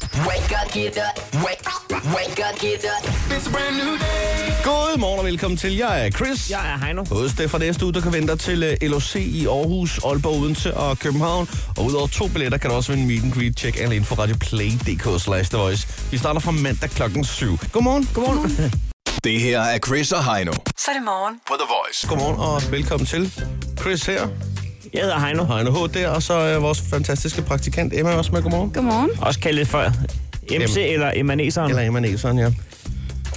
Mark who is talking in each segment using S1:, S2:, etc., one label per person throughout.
S1: Wake up, get up. Wake, wake up, get up.
S2: It's a brand new day.
S3: God morgen og velkommen til. Jeg er Chris.
S4: Jeg er Heino.
S3: Hos det fra næste uge, der kan vente dig til øh, LOC i Aarhus, Aalborg, Odense og København. Og udover to billetter kan du også vinde meet and greet. Check alle info radioplay.dk slash The Voice. Vi starter fra mandag klokken 7. Godmorgen. Godmorgen.
S2: Det her er Chris og Heino
S5: Så er det morgen.
S2: på The Voice.
S3: Godmorgen og velkommen til. Chris her,
S4: Jeg hedder Heino.
S3: Heino H. der, og så er vores fantastiske praktikant Emma også med. Godmorgen.
S6: Godmorgen.
S4: Også kaldet før MC eller Emaneseren.
S3: Eller Emma Næseren, ja.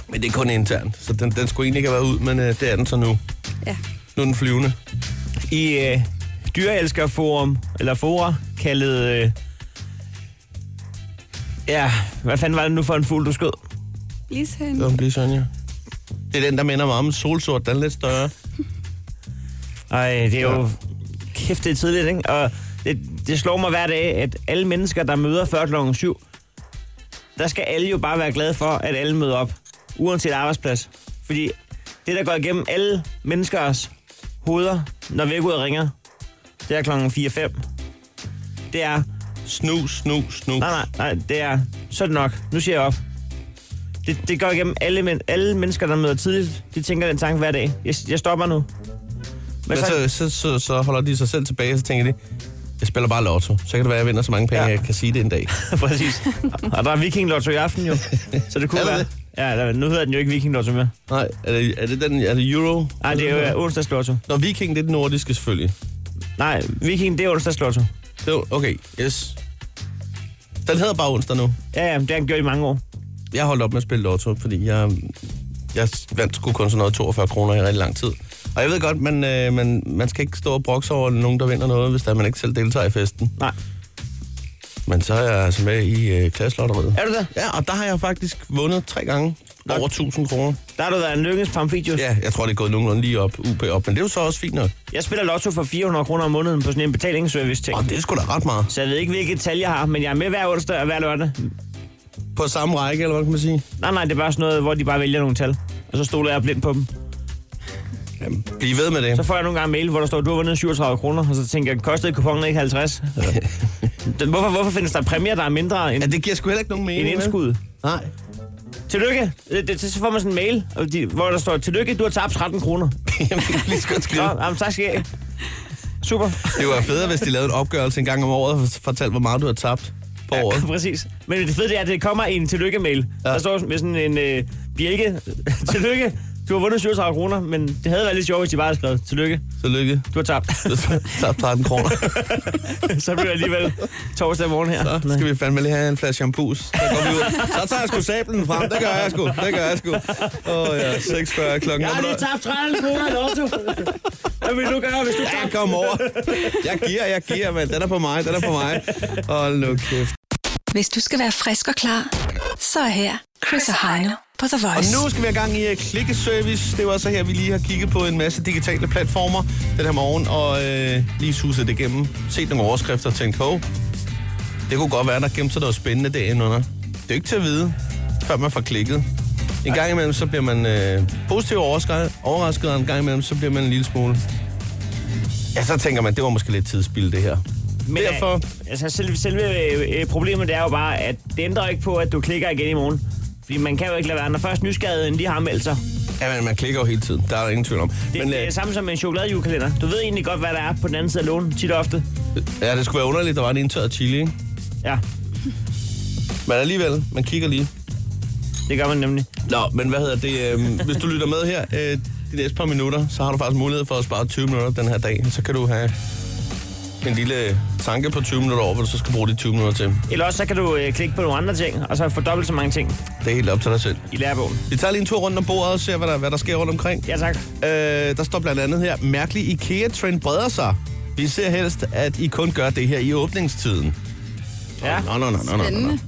S3: Men det er kun internt, så den, den skulle egentlig ikke have været ud, men øh, det er den så nu.
S6: Ja.
S3: Nu er den flyvende.
S4: I øh, dyreelskerforum, eller fora, kaldet... Øh, ja, hvad fanden var det nu for en fugl, du skød?
S6: Lishane.
S3: Det var en blisson, ja. Det er den, der minder mig om en solsort. Den er lidt større.
S4: Ej, det er jo kæft, det er tidligt, ikke? Og det, det slår mig hver dag, at alle mennesker, der møder før klokken 7, der skal alle jo bare være glade for, at alle møder op, uanset arbejdsplads. Fordi det, der går igennem alle menneskers hoveder, når vækkeuret ringer, det er klokken 4-5. Det er,
S3: Snus, snus, snus.
S4: nej, nej, nej, det er, så er det nok, nu siger jeg op. Det, det går igennem alle, men, alle mennesker, der møder tidligt, de tænker den tanke hver dag. Jeg, jeg stopper nu.
S3: Men så, så, så, så holder de sig selv tilbage, og så tænker de, jeg spiller bare lotto. Så kan det være, at jeg vinder så mange penge,
S4: Ja.
S3: ja. jeg kan sige det en dag.
S4: Præcis. Og der er Viking Lotto i aften jo. Så det kunne
S3: Er der
S4: være.
S3: det?
S4: Ja, der, nu hedder den jo ikke Viking Lotto mere.
S3: Nej, er det, er det, den, er det euro?
S4: Nej, det er jo ja, onsdags Lotto.
S3: Når viking, det er den nordiske selvfølgelig.
S4: Nej, Viking, det er onsdags Lotto.
S3: Det var, okay, yes. Den hedder bare onsdag nu.
S4: Ja, ja, det har han gjort i mange år.
S3: Jeg holdt op med at spille lotto, fordi jeg, jeg vandt sgu kun sådan noget 42 kroner i rigtig lang tid. Og jeg ved godt, man, øh, man, man skal ikke stå og brokse over nogen, der vinder noget, hvis der man ikke selv deltager i festen.
S4: Nej.
S3: Men så er jeg altså med i øh, klasselotteriet.
S4: Er du det?
S3: Ja, og der har jeg faktisk vundet tre gange
S4: Nå.
S3: over 1000 kroner.
S4: Der har du været en lykkens pamfidius. Ja.
S3: Ja, jeg tror, det er gået nogenlunde lige op, UP op, men det er jo så også fint nok.
S4: Jeg spiller Lotto for 400 kroner om måneden på sådan en betalingsservice ting.
S3: Og det er sgu da ret meget.
S4: Så jeg ved ikke, hvilket tal jeg har, men jeg er med hver onsdag og hver lørdag.
S3: På samme række, eller hvad kan man sige?
S4: Nej, nej, det er bare sådan noget, hvor de bare vælger nogle tal. Og så stoler jeg blind på dem.
S3: Jamen, bliv ved med
S4: Så
S3: det.
S4: får jeg nogle gange mail, hvor der står, du har vundet 37 kroner, og så tænker jeg, kostede kuponen ikke 50? Den- hvorfor, hvorfor findes der præmier, der er mindre end
S3: Ja, det giver sgu heller ikke nogen mening.
S4: en
S3: vel?
S4: indskud?
S3: Nej.
S4: Tillykke. Øh, Det, det, så får man sådan en mail, og de, hvor der står, tillykke, du har tabt 13 kroner.
S3: Jamen, det kan lige så godt skrive.
S4: Nå, jamen, tak skal I have. Super.
S3: Det var federe, hvis de lavede en opgørelse en gang om året og fortalte, hvor meget du har tabt på året.
S4: Ja, præcis. Men det fede det er, at det kommer i en tillykke-mail. Ja. Der står sådan- med sådan en øh, bjælke. tillykke, du har vundet 37 kroner, men det havde været lidt sjovt, hvis de bare havde skrevet, tillykke,
S3: Tillykke.
S4: du har tabt.
S3: Du har tabt 13 kroner.
S4: så bliver det alligevel torsdag morgen her.
S3: Så skal vi fandme lige have en flaske shampoo. Så, går vi ud. så tager jeg sgu sablen frem. Det gør jeg sgu. Det gør jeg sgu. Åh oh, ja, 6.40 klokken.
S4: Jeg har lige tabt 13 kroner i lotto. Hvad vil du gøre, hvis du
S3: Ja,
S4: tager
S3: kom over. Jeg giver, jeg giver, men den er på mig, den er på mig. Hold nu kæft.
S5: Hvis du skal være frisk og klar, så er her Chris og Heino på The
S3: Og
S5: Voice.
S3: nu skal vi have gang i uh, klikkeservice. Det var så her, vi lige har kigget på en masse digitale platformer den her morgen, og øh, lige suset det igennem. Set nogle overskrifter og tænkt, hov, det kunne godt være, der gemte sig noget spændende derinde under. Det er ikke til at vide, før man får klikket. En gang imellem, så bliver man øh, positivt overrasket, overrasket, og en gang imellem, så bliver man en lille smule... Ja, så tænker man, det var måske lidt tidsspil, det her. Men,
S4: øh,
S3: Derfor...
S4: Altså, selve, selve øh, øh, problemet det er jo bare, at det ændrer ikke på, at du klikker igen i morgen. Fordi man kan jo ikke lade være, når først nysgerrigheden lige har meldt sig. Det,
S3: Ja, men man klikker jo hele tiden. Der er der ingen tvivl om. men,
S4: det er
S3: øh,
S4: samme som med en chokoladejulekalender. Du ved egentlig godt, hvad der er på den anden side af lånen, tit og ofte.
S3: ja, det skulle være underligt, der var en indtørret chili, ikke?
S4: Ja,
S3: Men alligevel, man kigger lige.
S4: det gør man nemlig.
S3: Nå, men hvad hedder det? Øh, hvis du lytter med her øh, de næste par minutter, så har du faktisk mulighed for at spare 20 minutter den her dag. Så kan du have en lille tanke på 20 minutter over, hvad du så skal bruge de 20 minutter til.
S4: Eller også så kan du øh, klikke på nogle andre ting, og så få dobbelt så mange ting
S3: Det er helt op til dig selv.
S4: i lærebogen.
S3: Vi tager lige en tur rundt om bordet og ser, hvad der, hvad der sker rundt omkring.
S4: Ja tak.
S3: Øh, der står blandt andet her, mærkelig IKEA-trend breder sig. Vi ser helst, at I kun gør det her i åbningstiden.
S4: Ja.
S3: Nå, nå, nå, nå, nå, nå.
S6: Spændende.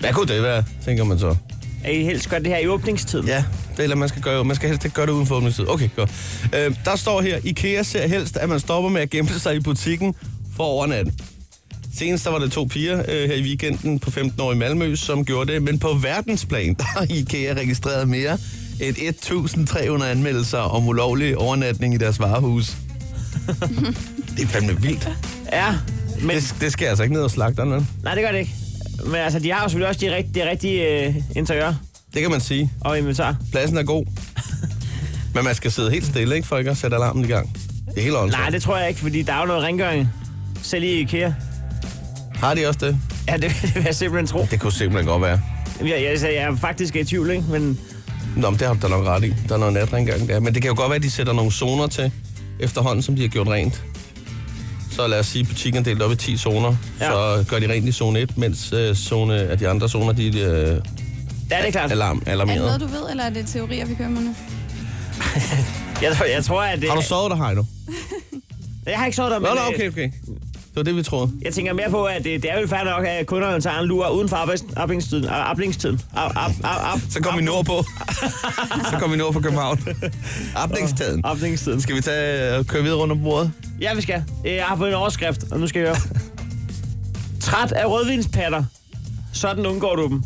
S3: Hvad kunne det være, tænker man så?
S4: Er I helst godt det her i åbningstiden?
S3: Ja, det er, eller man skal gøre. Man skal helst ikke gøre det uden for åbningstid. Okay, godt. Øh, der står her, IKEA ser helst, at man stopper med at gemme sig i butikken for overnatten. Senest der var det to piger øh, her i weekenden på 15 år i Malmø, som gjorde det. Men på verdensplan, der har IKEA registreret mere end 1.300 anmeldelser om ulovlig overnatning i deres varehus. det er fandme vildt.
S4: Ja. Men,
S3: Det, det skal altså ikke ned og slagterne.
S4: nej, det gør det ikke. Men altså, de har jo selvfølgelig også det rigtige, det rigtige øh, interiør
S3: Det kan man sige.
S4: og inventar.
S3: Pladsen er god. Men man skal sidde helt stille, ikke, for ikke at sætte alarmen i gang. Det er helt åndssvagt.
S4: Nej, det tror jeg ikke, fordi der er jo noget rengøring. Selv i IKEA.
S3: Har de også det?
S4: Ja, det, det vil jeg simpelthen tro.
S3: Det kunne simpelthen godt være.
S4: Jeg, jeg, jeg, jeg er faktisk i tvivl, ikke? Men
S3: Nå, men det har du da nok ret i. Der er noget natrengang der. Men det kan jo godt være, at de sætter nogle zoner til efterhånden, som de har gjort rent. Så lad os sige, at butikken er delt op i 10 zoner. Ja.
S4: Ja.
S3: Så gør de rent i zone 1, mens øh, zone, at de andre zoner, de er øh,
S4: ja, det Altså, er klart.
S3: alarm,
S6: Er det noget,
S3: alarmeret.
S6: du ved, eller er det teorier, vi kører med nu?
S4: Jeg, tror- jeg tror, at... Det,
S3: Har du sovet der, Heino?
S4: Jeg har ikke sovet der,
S3: Nå,
S4: men,
S3: nå,
S4: øh,
S3: okay, okay. Det var det, vi troede.
S4: Jeg tænker mere på, at det, det er jo fair nok, at kunderne tager en lur uden for arbejdstiden. Arbejdstiden.
S3: Så kom vi nordpå. Så kom vi nord på København. Apningstaden.
S4: Arbejdstiden.
S3: Skal vi tage og køre videre rundt om bordet?
S4: Ja, vi skal. Øh, Jeg har fået en overskrift, og nu skal jeg høre. Træt af rødvinspatter. Sådan undgår du dem.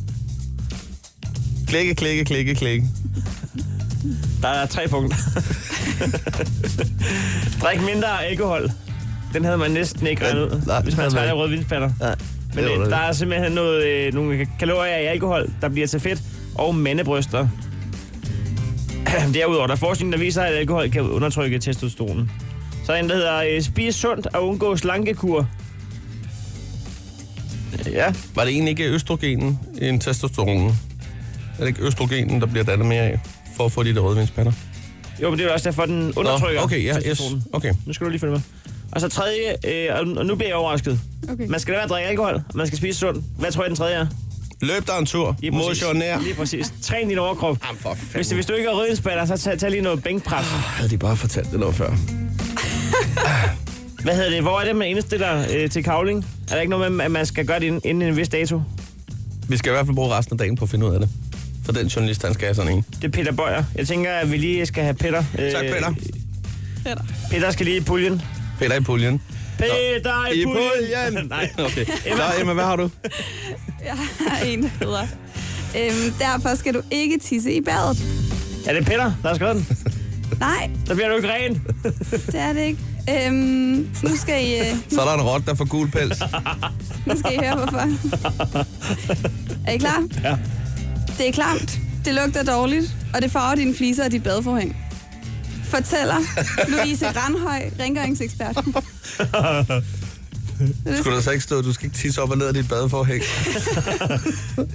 S3: Klikke, klikke, klikke, klikke.
S4: Der er tre punkter. Drik mindre alkohol. Den havde man næsten ikke regnet ud,
S3: Nej,
S4: hvis man er
S3: det havde
S4: træt af
S3: man
S4: rødvinspatter.
S3: Nej,
S4: Men øh, der er simpelthen noget, øh, nogle kalorier i alkohol, der bliver til fedt, og mandebryster. Derudover, der er forskning, der viser, at alkohol kan undertrykke testosteronen. Så er der en, der hedder øh, spis sundt og undgå slankekur. Ja,
S3: Var det egentlig ikke østrogenen end testosteronen? Er det ikke østrogenen, der bliver dannet mere af, for at få de der rødvinspander?
S4: jo, men det er jo også derfor, den undertrykker
S3: Nå, okay, ja, yes.
S4: testosteronen.
S3: Okay.
S4: Nu skal du lige følge med. Og så tredje, øh, og- og nu bliver jeg overrasket.
S6: Okay.
S4: Man skal da være at drikke alkohol, og man skal spise sundt. Hvad tror jeg, den tredje er?
S3: Løb dig en tur.
S4: Ja, præcis.
S3: Motionær.
S4: Lige præcis. Træn din overkrop.
S3: Jamen, for fanden.
S4: Hvis, hvis du ikke har rødvinspatter, så tag, tag lige noget bænkpres.
S3: Havde de bare fortalt det noget før.
S4: Hvad hedder det? Hvor er det, man indstiller øh, til kavling? Er der ikke noget med, at man skal gøre det inden, inden en vis dato?
S3: Vi skal i hvert fald bruge resten af dagen på at finde ud af det. For den journalist, han skal have sådan en.
S4: Det er Peter Bøjer. Jeg tænker, at vi lige skal have Peter. Øh,
S3: Tak, Peter.
S6: Peter.
S4: Peter skal lige i puljen.
S3: Peter i puljen.
S4: Peter i puljen!
S3: Nej.
S4: Nej.
S3: Okay. Nå, Emma, hvad har du?
S6: Jeg har en, der hedder. Øhm, derfor skal du ikke tisse i badet.
S4: Er det Peter, der har skrevet den?
S6: Nej,
S4: Så bliver du ikke ren.
S6: det er det ikke. Øhm, nu, skal I, øh,
S3: Så er der en rot, der får gul pels.
S6: nu skal I høre, hvorfor. er I klar?
S4: Ja.
S6: Det er klamt, det lugter dårligt, og det farver dine fliser og dit badeforhæng. Fortæller Louise Granhøj, rengøringsekspert.
S3: Skulle der så ikke stå, at du skal ikke tisse op og ned af dit badeforhæng?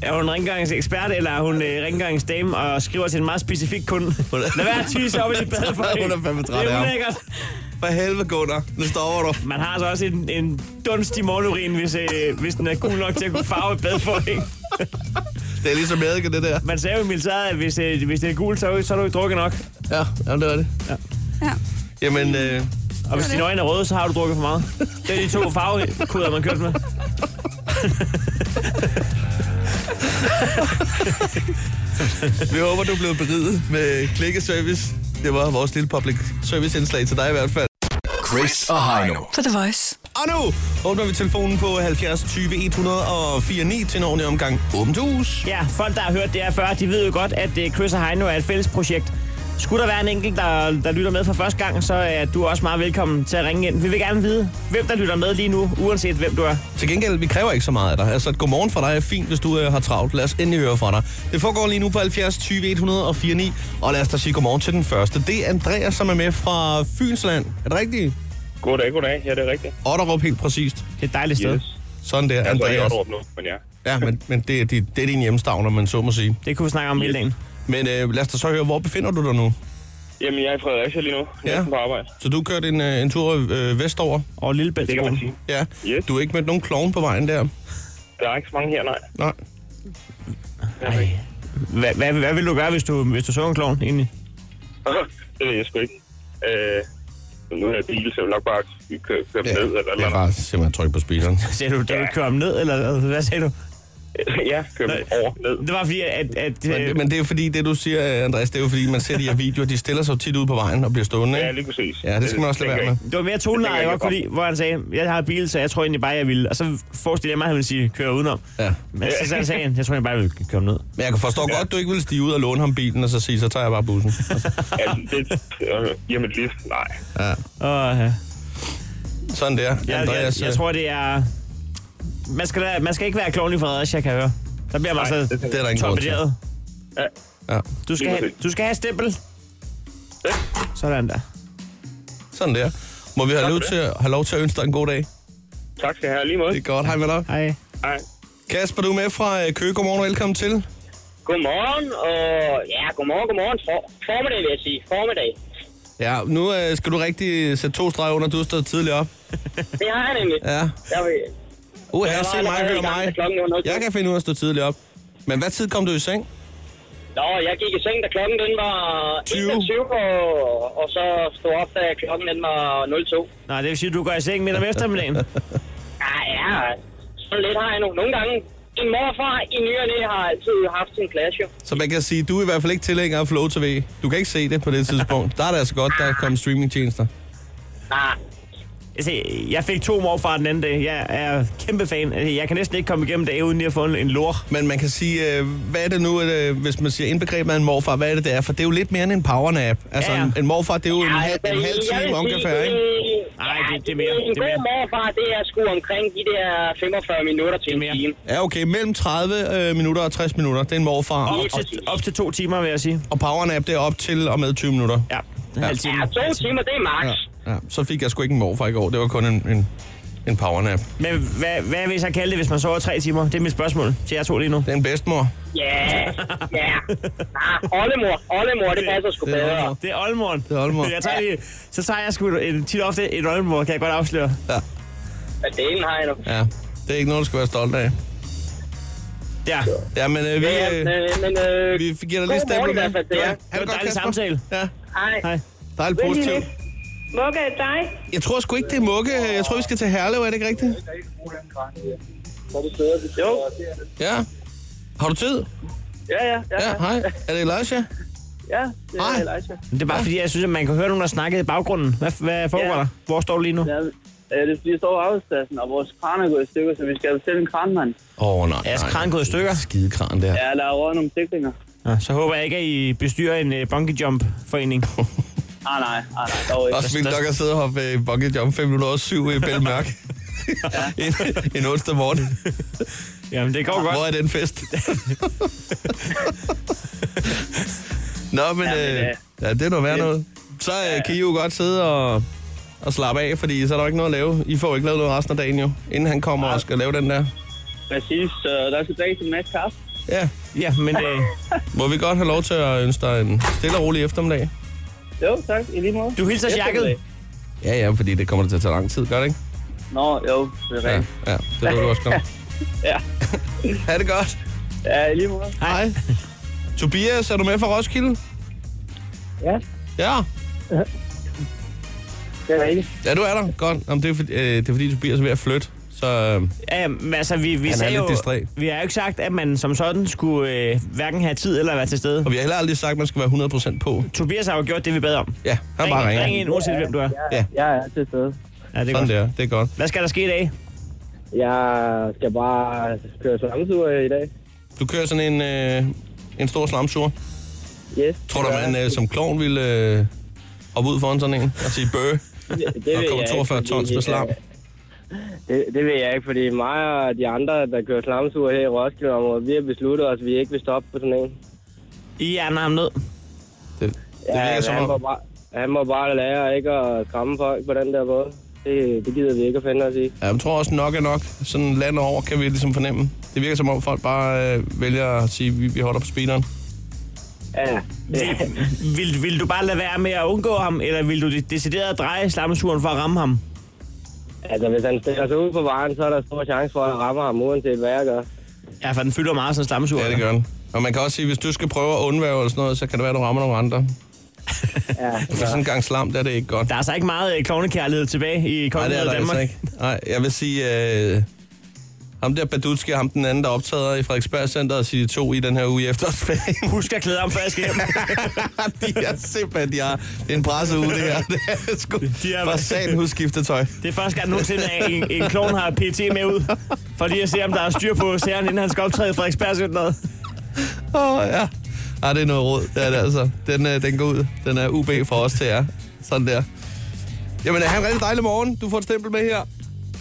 S4: Er hun rengøringsekspert, eller er hun øh, rengøringsdame og skriver til en meget specifik kunde?
S3: Hun er-
S4: Lad være at tisse op i dit bad for
S3: Hun er fandme træt
S4: Det
S3: af
S4: er
S3: ham.
S4: ulækkert.
S3: For helvede, Gunnar. Nu stopper du.
S4: Man har altså også en, en dunst i morgenurin, hvis, øh, hvis den er gul nok til at kunne farve et bad for en.
S3: Det er ligesom eddike, det der.
S4: Man sagde jo i militæret, at hvis, øh, hvis det er gul, så, er du- så er du ikke drukket nok.
S3: Ja, jamen, det var det.
S6: Ja.
S3: Jamen, øh,
S4: Og hvis dine øjne er røde, så har du drukket for meget. Det er de to farvekoder, man kørt med.
S3: Vi håber, du er blevet beriget med klikkeservice. Det var vores lille public service indslag til dig i hvert fald.
S2: Chris og Heino.
S5: På The Voice.
S3: Og nu åbner vi telefonen på 70 20 104 9 til en ordentlig omgang. Åbent hus.
S4: Ja, folk, der har hørt det her før, de ved jo godt, at øh, Chris og Heino er et fælles projekt. Skulle der være en enkelt, der, der lytter med for første gang, så er du også meget velkommen til at ringe ind. Vi vil gerne vide, hvem der lytter med lige nu, uanset hvem du er.
S3: Til gengæld, vi kræver ikke så meget af dig. Altså, et godmorgen fra dig er fint, hvis du øh, har travlt. Lad os endelig høre fra dig. Det foregår lige nu på 70 20 104 9, og lad os da sige godmorgen til den første. Det er Andreas, som er med fra Fynsland. Er det rigtigt?
S7: Goddag, goddag. Ja, det er rigtigt.
S3: Otterup helt præcist.
S4: Det er et dejligt sted.
S7: Yes. Altså,
S4: Yes.
S3: Sådan der,
S7: Jeg tror ikke,
S3: Andreas.
S7: Otterup nu, men ja.
S3: Ja, men, men det, er dit- det er din hjemstavn, om man så må sige.
S4: Det kunne vi snakke om hele dagen.
S3: Men øh, lad os da så høre, hvor befinder du dig nu?
S7: Jamen, jeg er i Fredericia lige nu.
S3: Ja.
S7: Ja. Næsten på arbejde.
S3: Så du kørte en, øh, en tur øh, vestover?
S4: Og Lillebælt.
S7: Det kan man sige.
S3: Ja.
S7: Yes.
S3: Du har ikke mødt nogen klovn på vejen der?
S7: Der er ikke så mange her, nej.
S3: Nej.
S4: Hvad, hvad, hvad ville du gøre, hvis du, hvis du så en klovn egentlig?
S7: det ved jeg sgu ikke. Øh, nu er jeg i bil, så jeg vil nok bare køre, køre dem ned eller
S3: det er
S7: eller
S3: bare simpelthen tryk på speederen.
S4: Sagde du, da du kører ham ned, eller hvad- hvad sagde du?
S7: Ja, køre dem over, ned.
S4: Det var fordi, at... at øh,
S3: Men, men det er jo fordi, det du siger, øh, Andreas, det er jo fordi, man ser de her videoer, de stiller sig jo tit ud på vejen og bliver stående,
S7: Ja,
S3: ikke?
S7: lige præcis.
S3: Ja, det skal man også lade
S7: tænker
S3: være med.
S7: jeg
S4: det var mere toneleje,
S7: Det tænker
S4: jeg
S7: jeg
S4: godt kunne lide, hvor han sagde, jeg har bil, så jeg tror egentlig bare, jeg ville. Og så forestillede jeg mig, at han ville sige, kør udenom.
S3: Ja.
S4: Men så sagde han, jeg tror egentlig bare, jeg ville køre ham ned.
S3: Men jeg kan forstå godt, du ikke vil stige ud og låne ham bilen, og så sige, så tager jeg bare bussen. Altså,
S7: ikke. Ja, det, øh, jamen, lige, nej.
S4: Og, øh,
S3: Sådan der,
S4: jeg, jeg,
S3: Andreas.
S4: jeg,
S3: øh,
S4: tror, det er... man, skal, da- man skal ikke være klovn i Fredericia, kan jeg høre. Der bliver man
S7: Nej,
S4: så
S7: det
S3: øh, Det er der ingen grund til.
S4: torpederet.
S7: Ja,
S3: Ja.
S4: Du skal,
S7: Lige
S4: have,
S7: præcis.
S4: du skal have et stempel.
S7: Ja.
S4: Sådan der.
S3: Sådan der. Må vi have
S7: Tak
S3: lov,
S7: for
S3: til at, have lov til at ønske dig en god dag?
S7: tak skal I have lige måde.
S3: Det er godt. Hej med dig.
S4: Hej.
S7: Hej.
S3: Kasper, du er med fra øh, Køge. Godmorgen og velkommen til.
S8: Godmorgen, og ja, godmorgen, godmorgen. For, formiddag vil jeg sige, formiddag.
S3: Ja, nu øh, skal du rigtig sætte to streger under, du har stået tidligt op.
S8: Det har jeg nemlig.
S3: Ja.
S8: Jeg vil,
S3: Uh, her,
S8: Jeg var
S3: se mig,
S8: allerede
S3: hør
S8: i gang med
S3: mig.
S8: klokken var nul to.
S3: Jeg kan finde ud af at stå tidligt op. Men hvad tid kom du i seng?
S8: nå, jeg gik i seng, da klokken den var
S3: 20.
S8: 21, og, og så stod op, da klokken den var 02.
S4: Nå, det vil sige, at du går i seng midt om eftermiddagen.
S8: Ja, ja, sådan lidt har jeg nu. Nogle gange, min morfar i ny og Næ har altid haft sin plads, jo.
S3: Så man kan sige, du er i hvert fald ikke tilhænger af Flow TV. Du kan ikke se det på det tidspunkt. Der er det altså godt, der er kommet streamingtjenester.
S8: Nej,
S4: Se, jeg fik to morfar den anden dag. Jeg er kæmpe fan. Altså, Jeg kan næsten ikke komme igennem dag, uden lige at få en, en lor.
S3: Men man kan sige, øh, hvad er det nu, at, øh, hvis man siger indbegrebet af en morfar, hvad er det, det er? For det er jo lidt mere end en powernap. Altså,
S4: Ja, ja.
S3: En, en morfar, det er jo en,
S8: Ej,
S3: hal- en halv
S8: altså, jeg vil
S3: time
S8: sige,
S3: omkafær, ikke?
S8: en-
S4: Nej,
S8: ja,
S4: det- det er mere,
S8: En
S4: det er
S8: god
S4: mere.
S8: morfar, det er sgu omkring de der 45 minutter til en
S4: mere.
S8: time.
S3: Ja, okay. Mellem 30 øh, minutter og 60 minutter, det er en morfar.
S4: Op
S3: Og,
S4: til, op til to timer, vil jeg sige.
S3: og powernap, det er op til og med 20 minutter.
S4: Ja, en halv time.
S8: Ja, to timer, det er max.
S3: altså- Ja, ja. Så fik jeg sgu ikke en morfar i går. Det var kun en, en, en powernap. Det
S4: Men hvad, hvad vil I så kalde det, hvis man sover tre timer? Det er mit spørgsmål til jer to lige nu.
S3: er en bedstmor.
S8: Ja, ja. Ah, oldemor, oldemor, det passer sgu
S3: det er
S8: bedre.
S3: oldemor.
S4: Det er Olmoren.
S3: Det er oldemor.
S4: Jeg tager lige, så tager jeg sgu en, tit og ofte en Olmor, kan jeg godt afsløre.
S8: Ja, delen har jeg nu.
S3: Ja, det er ikke noget, du skal være stolt af.
S4: Ja,
S3: Ja, men øh, vi,
S8: Ja,
S3: øh,
S8: men, men øh,
S3: vi fik- giver
S8: God
S3: dig lige
S8: morgen
S3: stempel
S8: i
S3: med.
S8: hvert fald til jer.
S3: ha'
S4: Det var en
S3: godt,
S4: dejlig
S3: Kasper.
S4: samtale.
S3: Ja,
S8: hej.
S4: hej.
S3: dejligt positivt.
S9: Mugge, dig?
S3: Jeg tror sgu ikke, det er Mugge. Jeg tror, vi skal til Herlev, er det ikke rigtigt?
S8: Jo,
S3: Ja. Har du tid?
S9: Ja, ja, ja.
S3: Ja, hej. Er det Elijah?
S9: ja det
S3: Hej.
S9: er Elijah.
S4: Men Det er bare fordi, jeg synes, at man kan høre nogen, der snakkede i baggrunden. Hvad, hvad foregår
S9: Ja.
S4: der? Hvor står du lige nu?
S9: Ja, øh, det er fordi, jeg står på arbejdspladsen, og vores kran er gået i stykker, så vi skal bestille en kranmand.
S3: Åh, oh, nej.
S4: Er jeres kran gået i stykker?
S3: Skide kran der.
S9: Ja, der er røget nogle siklinger.
S4: Ja, så håber jeg ikke, at I bestyrer en uh, bungee jump forening.
S9: Ah, nej, ah, nej, dog ikke.
S3: Også vildt nok at sidde og hoppe i bucket jump 5 minutter over 7 i Bælmørk. en, en onsdag morgen.
S4: Jamen, det går
S3: Hvor
S4: godt.
S3: er den fest? Nå, men,
S9: Ja, men,
S3: ja, øh,
S9: øh,
S3: ja, det er noget værd noget. Så øh, kan I jo godt sidde og, og slappe af, fordi så er der jo ikke noget at lave. I får jo ikke lavet noget resten af dagen jo, inden han kommer og skal lave den der.
S9: Præcis, så der skal drikke en masse kaffe.
S3: Ja,
S4: Ja, men uh,
S3: må vi godt have lov til at ønske dig en stille og rolig eftermiddag?
S9: Jo, tak, i lige måde.
S4: du hilser jakket.
S9: Eftermiddag.
S3: Ja, ja, fordi det kommer til at tage lang tid, gør det ikke?
S9: Nå, jo, det er
S3: Ja,
S9: rigtigt.
S3: ja det ved du også godt.
S9: Ja.
S3: ha' det godt.
S9: Ja, i lige måde.
S3: Hej. Tobias, er du med fra Roskilde?
S9: Ja,
S3: Ja.
S9: det er rigtigt.
S3: Ja, du er der. Godt. Jamen, det, er, fordi- øh, det er fordi, Tobias er ved at flytte. Så øh,
S4: Ja, men altså, vi, vi,
S3: er
S4: sagde
S3: lidt
S4: jo,
S3: distræt.
S4: vi har jo ikke sagt, at man som sådan skulle uh, hverken have tid eller være til stede.
S3: og vi har heller aldrig sagt, at man skal være 100% på.
S4: Tobias har jo gjort det, vi bad om.
S3: Ja, han bare ringer.
S4: ring ind, uanset hvem du er.
S9: Jeg er til stede.
S4: Ja, det
S3: Sådan
S4: er godt.
S3: der. Det er godt.
S4: Hvad skal der ske i dag?
S9: Jeg skal bare køre slangetur i dag.
S3: Du kører sådan en, øh, en stor slamsur.
S9: Yes.
S3: Tror du, man øh, som klovn ville øh, hoppe ud foran sådan en og sige bøge?
S9: det
S3: Der kom 42 tons med slam.
S9: Det, det ved jeg ikke, fordi mig og de andre, der kører slamsur her i Roskilde-området, vi har besluttet os, at vi ikke vil stoppe på sådan en.
S4: I er ham ned.
S3: Det, det virker som
S9: han, må
S3: om...
S9: bare, han må bare lære ikke at skræmme folk på den der måde. Det, det gider vi ikke at finde os i.
S3: Ja, jeg tror også, nok er nok. Sådan land over kan vi ligesom fornemme. Det virker som om, folk bare øh, vælger at sige, vi, vi holder på speederen.
S9: Ja, det,
S4: Vil, vil du bare lade være med at undgå ham, eller vil du decideret dreje slammesuren for at ramme ham?
S9: altså, hvis han stiller sig ud på vejen, så er der stor chance for, at jeg rammer ham, uanset hvad jeg gør.
S4: Ja, for den fylder meget sådan en slamsur.
S3: Ja, det gør den. Og man kan også sige, hvis du skal prøve at undvære eller sådan noget, så kan det være, at du rammer nogle andre.
S9: Ja,
S3: For sådan en gang slam, der er det ikke godt.
S4: Der er altså ikke meget øh, klovnekærlighed tilbage i
S3: Nej, det er
S4: kongeriget
S3: der
S4: Danmark.
S3: altså ikke. Nej, jeg vil sige, øh, ham der Badutski og ham den anden, der optræder i Frederiksberg Center og siger to i den her uge efter
S4: Husk at klæde om, før jeg skal hjem.
S3: de er simpelthen, de har, det er en presse uge, det her. Det er sgu
S4: De er-
S3: for satan hos skiftetøj.
S4: Det er første gang nogensinde, at en, en klon har PT med ud, for lige at se, om der er styr på sagerne, inden han skal optræde i Frederiksberg
S3: Åh, oh, ja. Ej, det er noget råd, det er det altså. Den, øh, den går ud. Den er øh, UB fra os til jer. Sådan der. Jamen, han en rigtig dejlig morgen. Du får et stempel med her.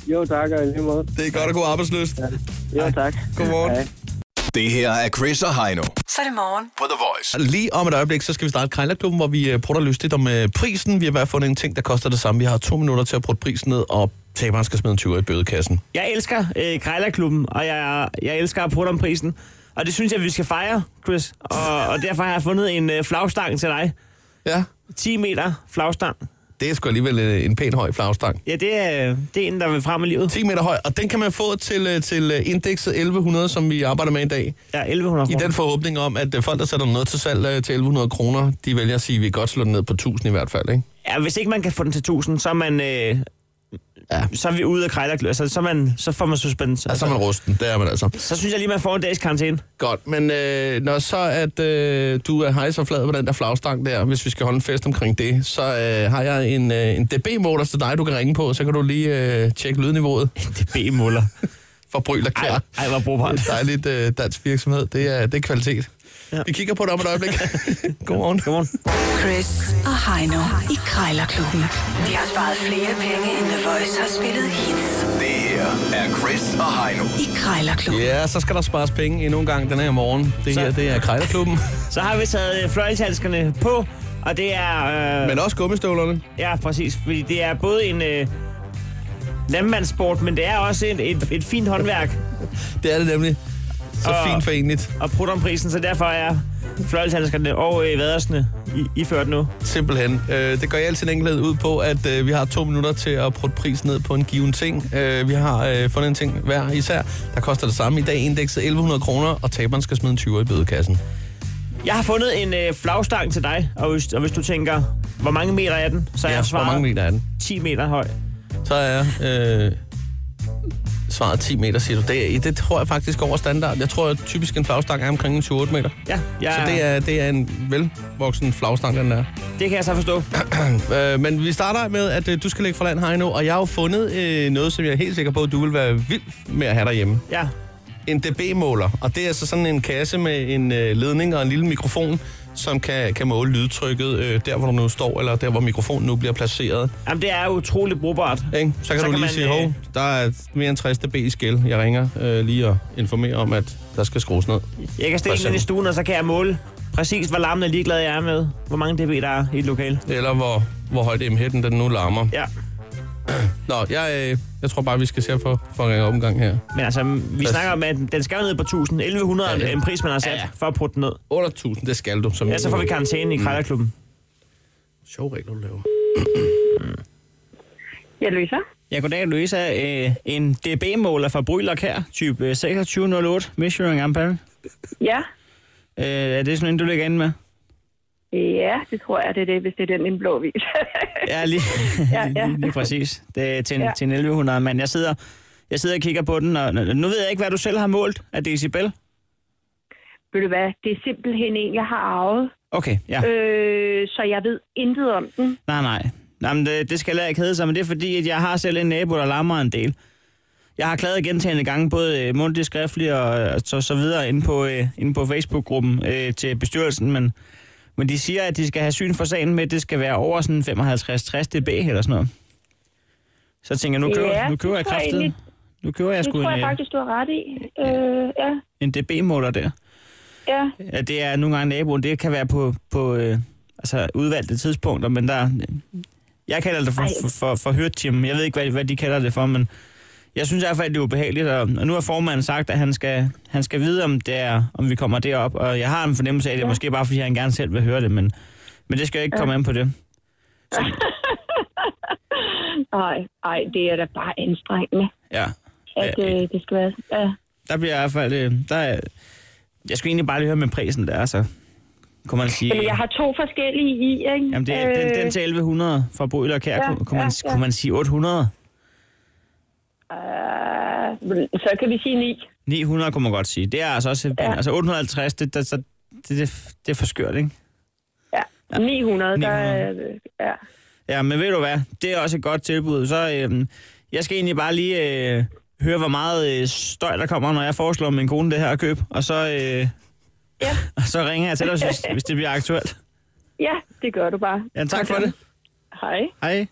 S9: Jo, tak, og i lige måde.
S3: Det er godt at gå arbejdsløst.
S9: Jo, tak.
S3: Godmorgen.
S9: Hej.
S2: Det her er Chris og Heino
S5: Så er det morgen.
S2: på The Voice.
S3: Lige om et øjeblik, så skal vi starte Krejlerklubben, hvor vi øh, prutter løs lidt om øh, prisen. Vi har i hvert fald fundet en ting, der koster det samme. Vi har to minutter til at prutte prisen ned, og taberen skal smide en 20 i bødekassen.
S4: Jeg elsker øh, Krejlerklubben, og jeg, jeg elsker at putte om prisen. Og det synes jeg, vi skal fejre, Chris. Og, og derfor har jeg fundet en øh, flagstang til dig.
S3: Ja.
S4: 10 meter flagstang.
S3: Det er sgu alligevel øh, en pæn høj flagstang.
S4: Ja, det er, det er en, der vil frem i livet.
S3: 10 meter høj, og den kan man få til, øh, til øh, indekset 1100, som vi arbejder med i dag.
S4: Ja, 1100
S3: I
S4: kroner.
S3: den forhåbning om, at øh, folk, der sætter noget til salg øh, til 1100 kroner, de vælger at sige, at vi kan godt slå den ned på 1000 i hvert fald, ikke?
S4: Ja, hvis ikke man kan få den til 1000, så er man... Øh,
S3: Ja.
S4: ja. Så er vi ude af krejlerklubben. Altså, så, er man, så får man suspens.
S3: Altså, så er man rusten. Det er man altså.
S4: så synes jeg lige, man får en dags karantæne.
S3: Godt, men øh, når så at øh, du er hejser flad på den der flagstang der, hvis vi skal holde en fest omkring det, så øh, har jeg en, øh, en DB-motor til dig, du kan ringe på, så kan du lige øh, tjekke lydniveauet
S4: Det B-muller.
S3: for Bryl og
S4: Ej,
S3: Kjær.
S4: ej, hvor brugbart.
S3: Det er dejligt øh, dansk virksomhed. Det er, det er kvalitet. Ja.
S4: Ja.
S3: Vi kigger på det om et øjeblik. Godmorgen.
S4: Godmorgen.
S5: Chris og Heino i Krejlerklubben. De har sparet flere penge, end The Voice har spillet hits
S2: Det her er Chris og Heino.
S5: i Krejlerklubben.
S3: Ja, så skal der spares penge endnu en gang den her morgen. Det
S4: Så-
S3: her, det er Krejlerklubben.
S4: Så har vi taget øh, fløjlshandskerne på, og det er... Øh,
S3: Men også gummistøvlerne.
S4: Ja, præcis. Fordi det er både en øh, landmandssport, men det er også et, et, et fint håndværk
S3: Det er det nemlig. Så
S4: Og-
S3: fint forenligt.
S4: at prutte om prisen, så derfor er fløjlshandskerne og øh, vadersene i, iført nu.
S3: Simpelthen. Øh, det går i al sin enkelhed ud på, at øh, vi har to minutter til at prutte prisen ned på en given ting. Øh, vi har øh, fundet en ting hver især, der koster det samme. I dag indekset 1100 kroner, og taberen skal smide en 20 i bødekassen.
S4: Jeg har fundet en øh, flagstang til dig, og hvis, og hvis du tænker, hvor mange meter er den, så er jeg
S3: hvor
S4: svaret
S3: mange meter er den?
S4: 10 meter høj.
S3: Så er øh, svaret 10 meter, siger du. Det, er- det tror jeg faktisk over standard. Jeg tror at typisk en flagstang er omkring en 28 meter.
S4: Ja, jeg,
S3: Så det er, det er en velvoksen flagstang, den der.
S4: det kan jeg så forstå.
S3: Øh, men vi starter med, at øh, du skal lægge for land, Heino, og jeg har jo fundet øh, noget, som jeg er helt sikker på, at du vil være vild med at have derhjemme.
S4: Ja,
S3: En DB-måler, og det er altså sådan en kasse med en øh, ledning og en lille mikrofon, som kan, kan måle lydtrykket øh, der, hvor du nu står, eller der, hvor mikrofonen nu bliver placeret.
S4: Jamen, det er utroligt brugbart.
S3: Ikke? Så kan
S4: Så
S3: du
S4: kan
S3: lige
S4: man,
S3: sige,
S4: øh,
S3: hov, der er mere end 60 dB i skæl. Jeg ringer øh, lige og informerer om, at der skal skrues ned.
S4: Jeg kan
S3: For
S4: stille den
S3: eksempel.
S4: ind i stuen, og så kan jeg måle præcis, hvor larmende ligeglad jeg er med, hvor mange dB der er i et lokal.
S3: Eller hvor, hvor højt M-hætten den nu larmer.
S4: Ja,
S3: Nå, jeg, øh, jeg tror bare, vi skal se at få, få en omgang her.
S4: men altså, vi
S3: Præcis.
S4: snakker om, at den skal jo ned på 1000. 1100
S3: Ja,
S4: ja,
S3: ja.
S4: ja. en pris, man har sat
S3: Ja,
S4: ja,
S3: ja. Mm.
S4: ja. for at putte den ned.
S3: 8.000, det skal du. Som
S4: Ja, så får vi karantæne i Krejlerklubben.
S3: Sjov regler, du laver.
S10: Jeg løser.
S4: Ja, goddag, Louisa. Øh, en DB-måler fra Brylok her, type øh, 2608, Measuring Ampere.
S10: Ja.
S4: Øh, er det sådan en, du ligger inde med?
S10: Ja, det tror jeg, det er det, hvis det er den i en blå vis.
S4: Ja, lige,
S10: Ja,
S4: ja, ja.
S10: ja.
S4: lige, lige præcis. Det er til en, ja.
S10: Ja.
S4: til en 1100 mand. Jeg sidder, jeg sidder og kigger på den, og nu ved jeg ikke, hvad du selv har målt af decibel.
S10: Ved du hvad, det er simpelthen en, jeg har arvet,
S4: Okay, ja.
S10: øh, så jeg ved intet om den.
S4: Nej, nej. Nej, men det, det skal heller ikke hedde sig, men det er fordi, at jeg har selv en nabo, der larmer en del. Jeg har klaget gentagende gange, både øh, mundtligt, skriftligt og øh, så, så videre, inde på, øh, inde på Facebook-gruppen øh, til bestyrelsen, men, men de siger, at de skal have syn for sagen med, at det skal være over sådan 55-60 dB eller sådan noget. Så tænker jeg, nu køber,
S10: Ja,
S4: nu køber jeg
S10: det tror jeg
S4: kraftet.
S10: egentlig-
S4: Nu køber jeg
S10: det
S4: sgu
S10: tror
S4: en,
S10: jeg
S4: øh,
S10: faktisk, du har ret i. Øh, ja,
S4: en dB-måler der.
S10: ja.
S4: Ja, det er nogle gange naboen. Det kan være på, på øh, altså udvalgte tidspunkter, men der... Jeg kalder det for,
S10: Ej.
S4: for, for, for hørtimen. Jeg ved ikke, hvad, hvad de kalder det for, men jeg synes i hvert fald, det er ubehageligt. Og, og nu har formanden sagt, at han skal, han skal vide, om, det er, om vi kommer derop. Og jeg har en fornemmelse af det, ja. måske bare fordi han gerne selv vil høre det, men, men det skal jo ikke komme an på det.
S10: Ej, ej, det er da bare anstrengende,
S4: Ja.
S10: at
S4: Ja,
S10: øh, det skal være. Ja.
S4: Der bliver i hvert fald... Øh, der er, jeg skulle egentlig bare lige høre med prisen der, så kunne man sige...
S10: Jamen, jeg har to forskellige i, ikke?
S4: Jamen, det, øh, den, den til 1100 fra Brøl og Kær, ja,
S10: ja,
S4: kunne, kunne, man,
S10: ja, ja.
S4: kunne man sige 800?
S10: øh, så kan vi sige ni.
S4: 900 kunne man godt sige. Det er altså også... Ja. Altså 850, det, det, det, det, det er for skørt, ikke?
S10: Ja, 900, der
S4: 900.
S10: øh, ja.
S4: Ja, men ved du hvad? Det er også et godt tilbud. Så øhm, jeg skal egentlig bare lige øh, høre, hvor meget øh, støj der kommer, når jeg foreslår min kone det her at købe. Og så, øh,
S10: Ja.
S4: og så ringer jeg til dig, hvis, hvis det bliver aktuelt.
S10: ja, det gør du bare.
S4: Ja, tak for
S10: Okay.
S4: det.
S10: Hej.
S4: Hej.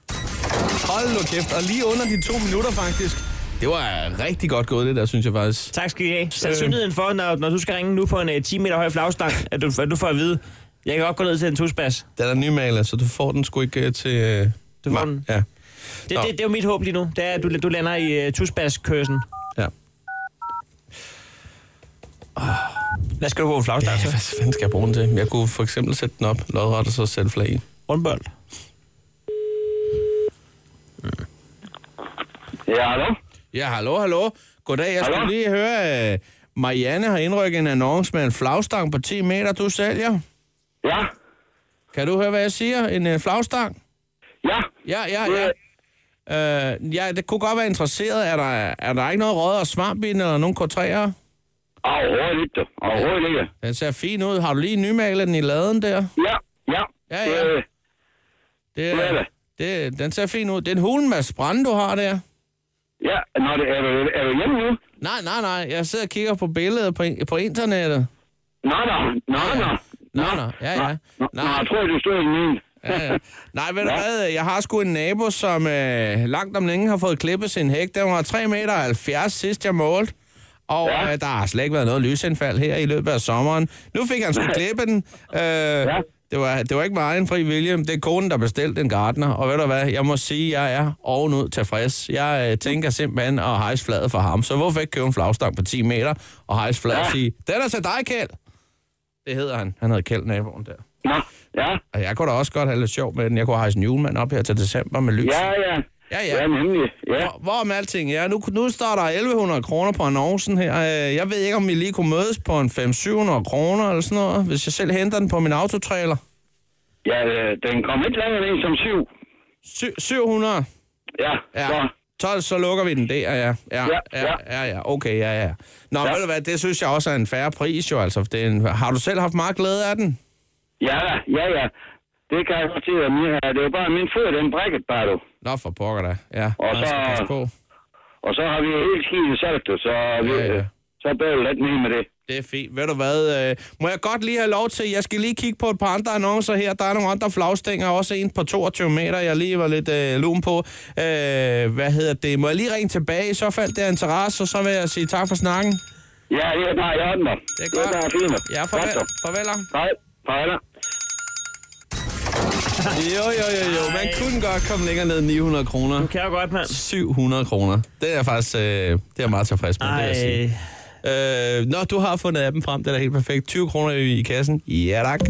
S3: Hold nu kæft, og lige under de to minutter faktisk. Det var rigtig godt gået, det der, synes jeg faktisk.
S4: Tak skal I have. Sandsynligheden for, når, når du skal ringe nu på en uh, 10 meter høj flagstang, at du, at du får at vide, jeg kan godt gå ned til en tusbas.
S3: Den er nymaler, så du får den sgu ikke øh, til... Øh,
S4: Du får
S3: ma-
S4: den.
S3: Ja.
S4: Det, det, det, er jo mit håb lige nu. Det er, at du, du lander i uh, tusbas-kørselen.
S3: Ja.
S4: Hvad skal du bruge en flagstang
S3: ja,
S4: til?
S3: hvad fanden skal jeg bruge den til? Jeg kunne for eksempel sætte den op lodret og så sætte flag i.
S4: Rundbold.
S7: Ja, hallo?
S3: Ja, hallo, hallo. Goddag, jeg skulle
S7: Hallo?
S3: lige høre... øh, Marianne har indrykket en annonce med en flagstang på 10 meter, du sælger.
S7: Ja,
S3: Kan du høre, hvad jeg siger? En øh, flagstang?
S7: ja.
S3: Ja, ja, ja. Øh, ja, det kunne godt være interesseret. Er der, er der ikke noget rød og svamp i den, eller nogen kortræer?
S7: Overhovedet ikke, du. Overhovedet ikke.
S3: Den ser fin ud. Har du lige nymalet den i laden der?
S7: Ja, ja.
S3: Ja, ja.
S7: Øh,
S3: Det,
S7: hvad er
S3: øh,
S7: det?
S3: det, den ser fin ud. Det er en hulmas brænde, du har der.
S7: ja, nå, det er, du- er du hjemme nu?
S3: Nej, nej, nej. Jeg sidder og kigger på billeder på, på internettet.
S7: Nå, nå, nå, nå.
S3: Nå, nå. Ja, ja.
S7: Nå, nå, jeg tror, du stod i min.
S3: Ja, ja. Nej, ved du hvad? Jeg har sgu en nabo, som øh, langt om længe har fået klippet sin hæk. Den var 3,70 meter sidst, jeg målte. Og ja.
S7: Ja.
S3: øh, der har slet ikke været noget lysindfald her i løbet af sommeren. Nu fik han sgu klippe den. Øh, ja. det, var, det var ikke meget en fri vilje. Det er konen, der bestilte en gartner. Og ved du hvad? Jeg må sige, jeg er ovenud tilfreds. Jeg øh, tænker simpelthen at hejse flaget for ham. Så hvorfor ikke købe en flagstang på 10 meter og hejse flaget ja. og sige, den er til dig, Kjeld. Det hedder han. Han hedder Kjeld, naboen der.
S7: Nå, ja,
S3: Og jeg kunne da også godt have lidt sjov med den. Jeg kunne hejse en julemand op her til december med lys.
S7: ja, ja.
S3: Ja, ja.
S7: Ja, nemlig. Ja,
S3: Hvor, hvor med alting er. Nu, nu står der 1100 kroner på annoncen her. Øh, Jeg ved ikke, om vi lige kunne mødes på en 500-700 kroner eller sådan noget, hvis jeg selv henter den på min autotrailer.
S7: ja øh, den kom ikke længere ned som syv.
S3: Sy- 700?
S7: Ja,
S3: Ja.
S7: så.
S3: Så, så lukker vi den der, ja. Ja,
S7: Ja,
S3: ja, ja, ja. Okay, ja, ja. Nå, ja.
S7: Ja.
S3: ved du hvad, det synes jeg også er en færre pris jo, altså. for Det er en, har du selv haft meget glæde af den?
S7: Ja, da, ja, ja. Det kan jeg godt se, at min, det er jo bare min fod, den brækket bare, du.
S3: Nå, for pokker da. Ja,
S7: Og
S3: man skal
S7: så-
S3: passe på.
S7: Og så har vi helt skidt selv, du, så, vi,
S3: Ja, ja.
S7: så bør lidt ned med det.
S3: Det er fint. Ved du hvad, øh, må jeg godt lige have lov til, jeg skal lige kigge på et par andre annoncer her. Der er nogle andre flagstænger, også en på 22 meter, jeg lige var lidt øh, lun på. Øh, hvad hedder det? Må jeg lige ringe tilbage, i så fald det er interesse, og så vil jeg sige tak for snakken.
S7: Ja, det er bare i orden, mand.
S3: Det er godt.
S7: Det er bare fint, mand.
S3: Ja,
S7: Godt,
S3: farvel.
S7: du.
S3: Farveler.
S7: Hej. Hej, da.
S3: Jo, jo, jo, jo. Man kunne godt komme længere ned end 900 kroner.
S4: Du kan jo godt, mand.
S3: 700 kroner. Det er jeg faktisk øh, det er jeg meget tilfreds med, det vil jeg sige.
S4: Ej.
S3: Øh, nå, du har fundet appen frem. Det er da helt perfekt. 20 kroner i kassen. Ja, tak.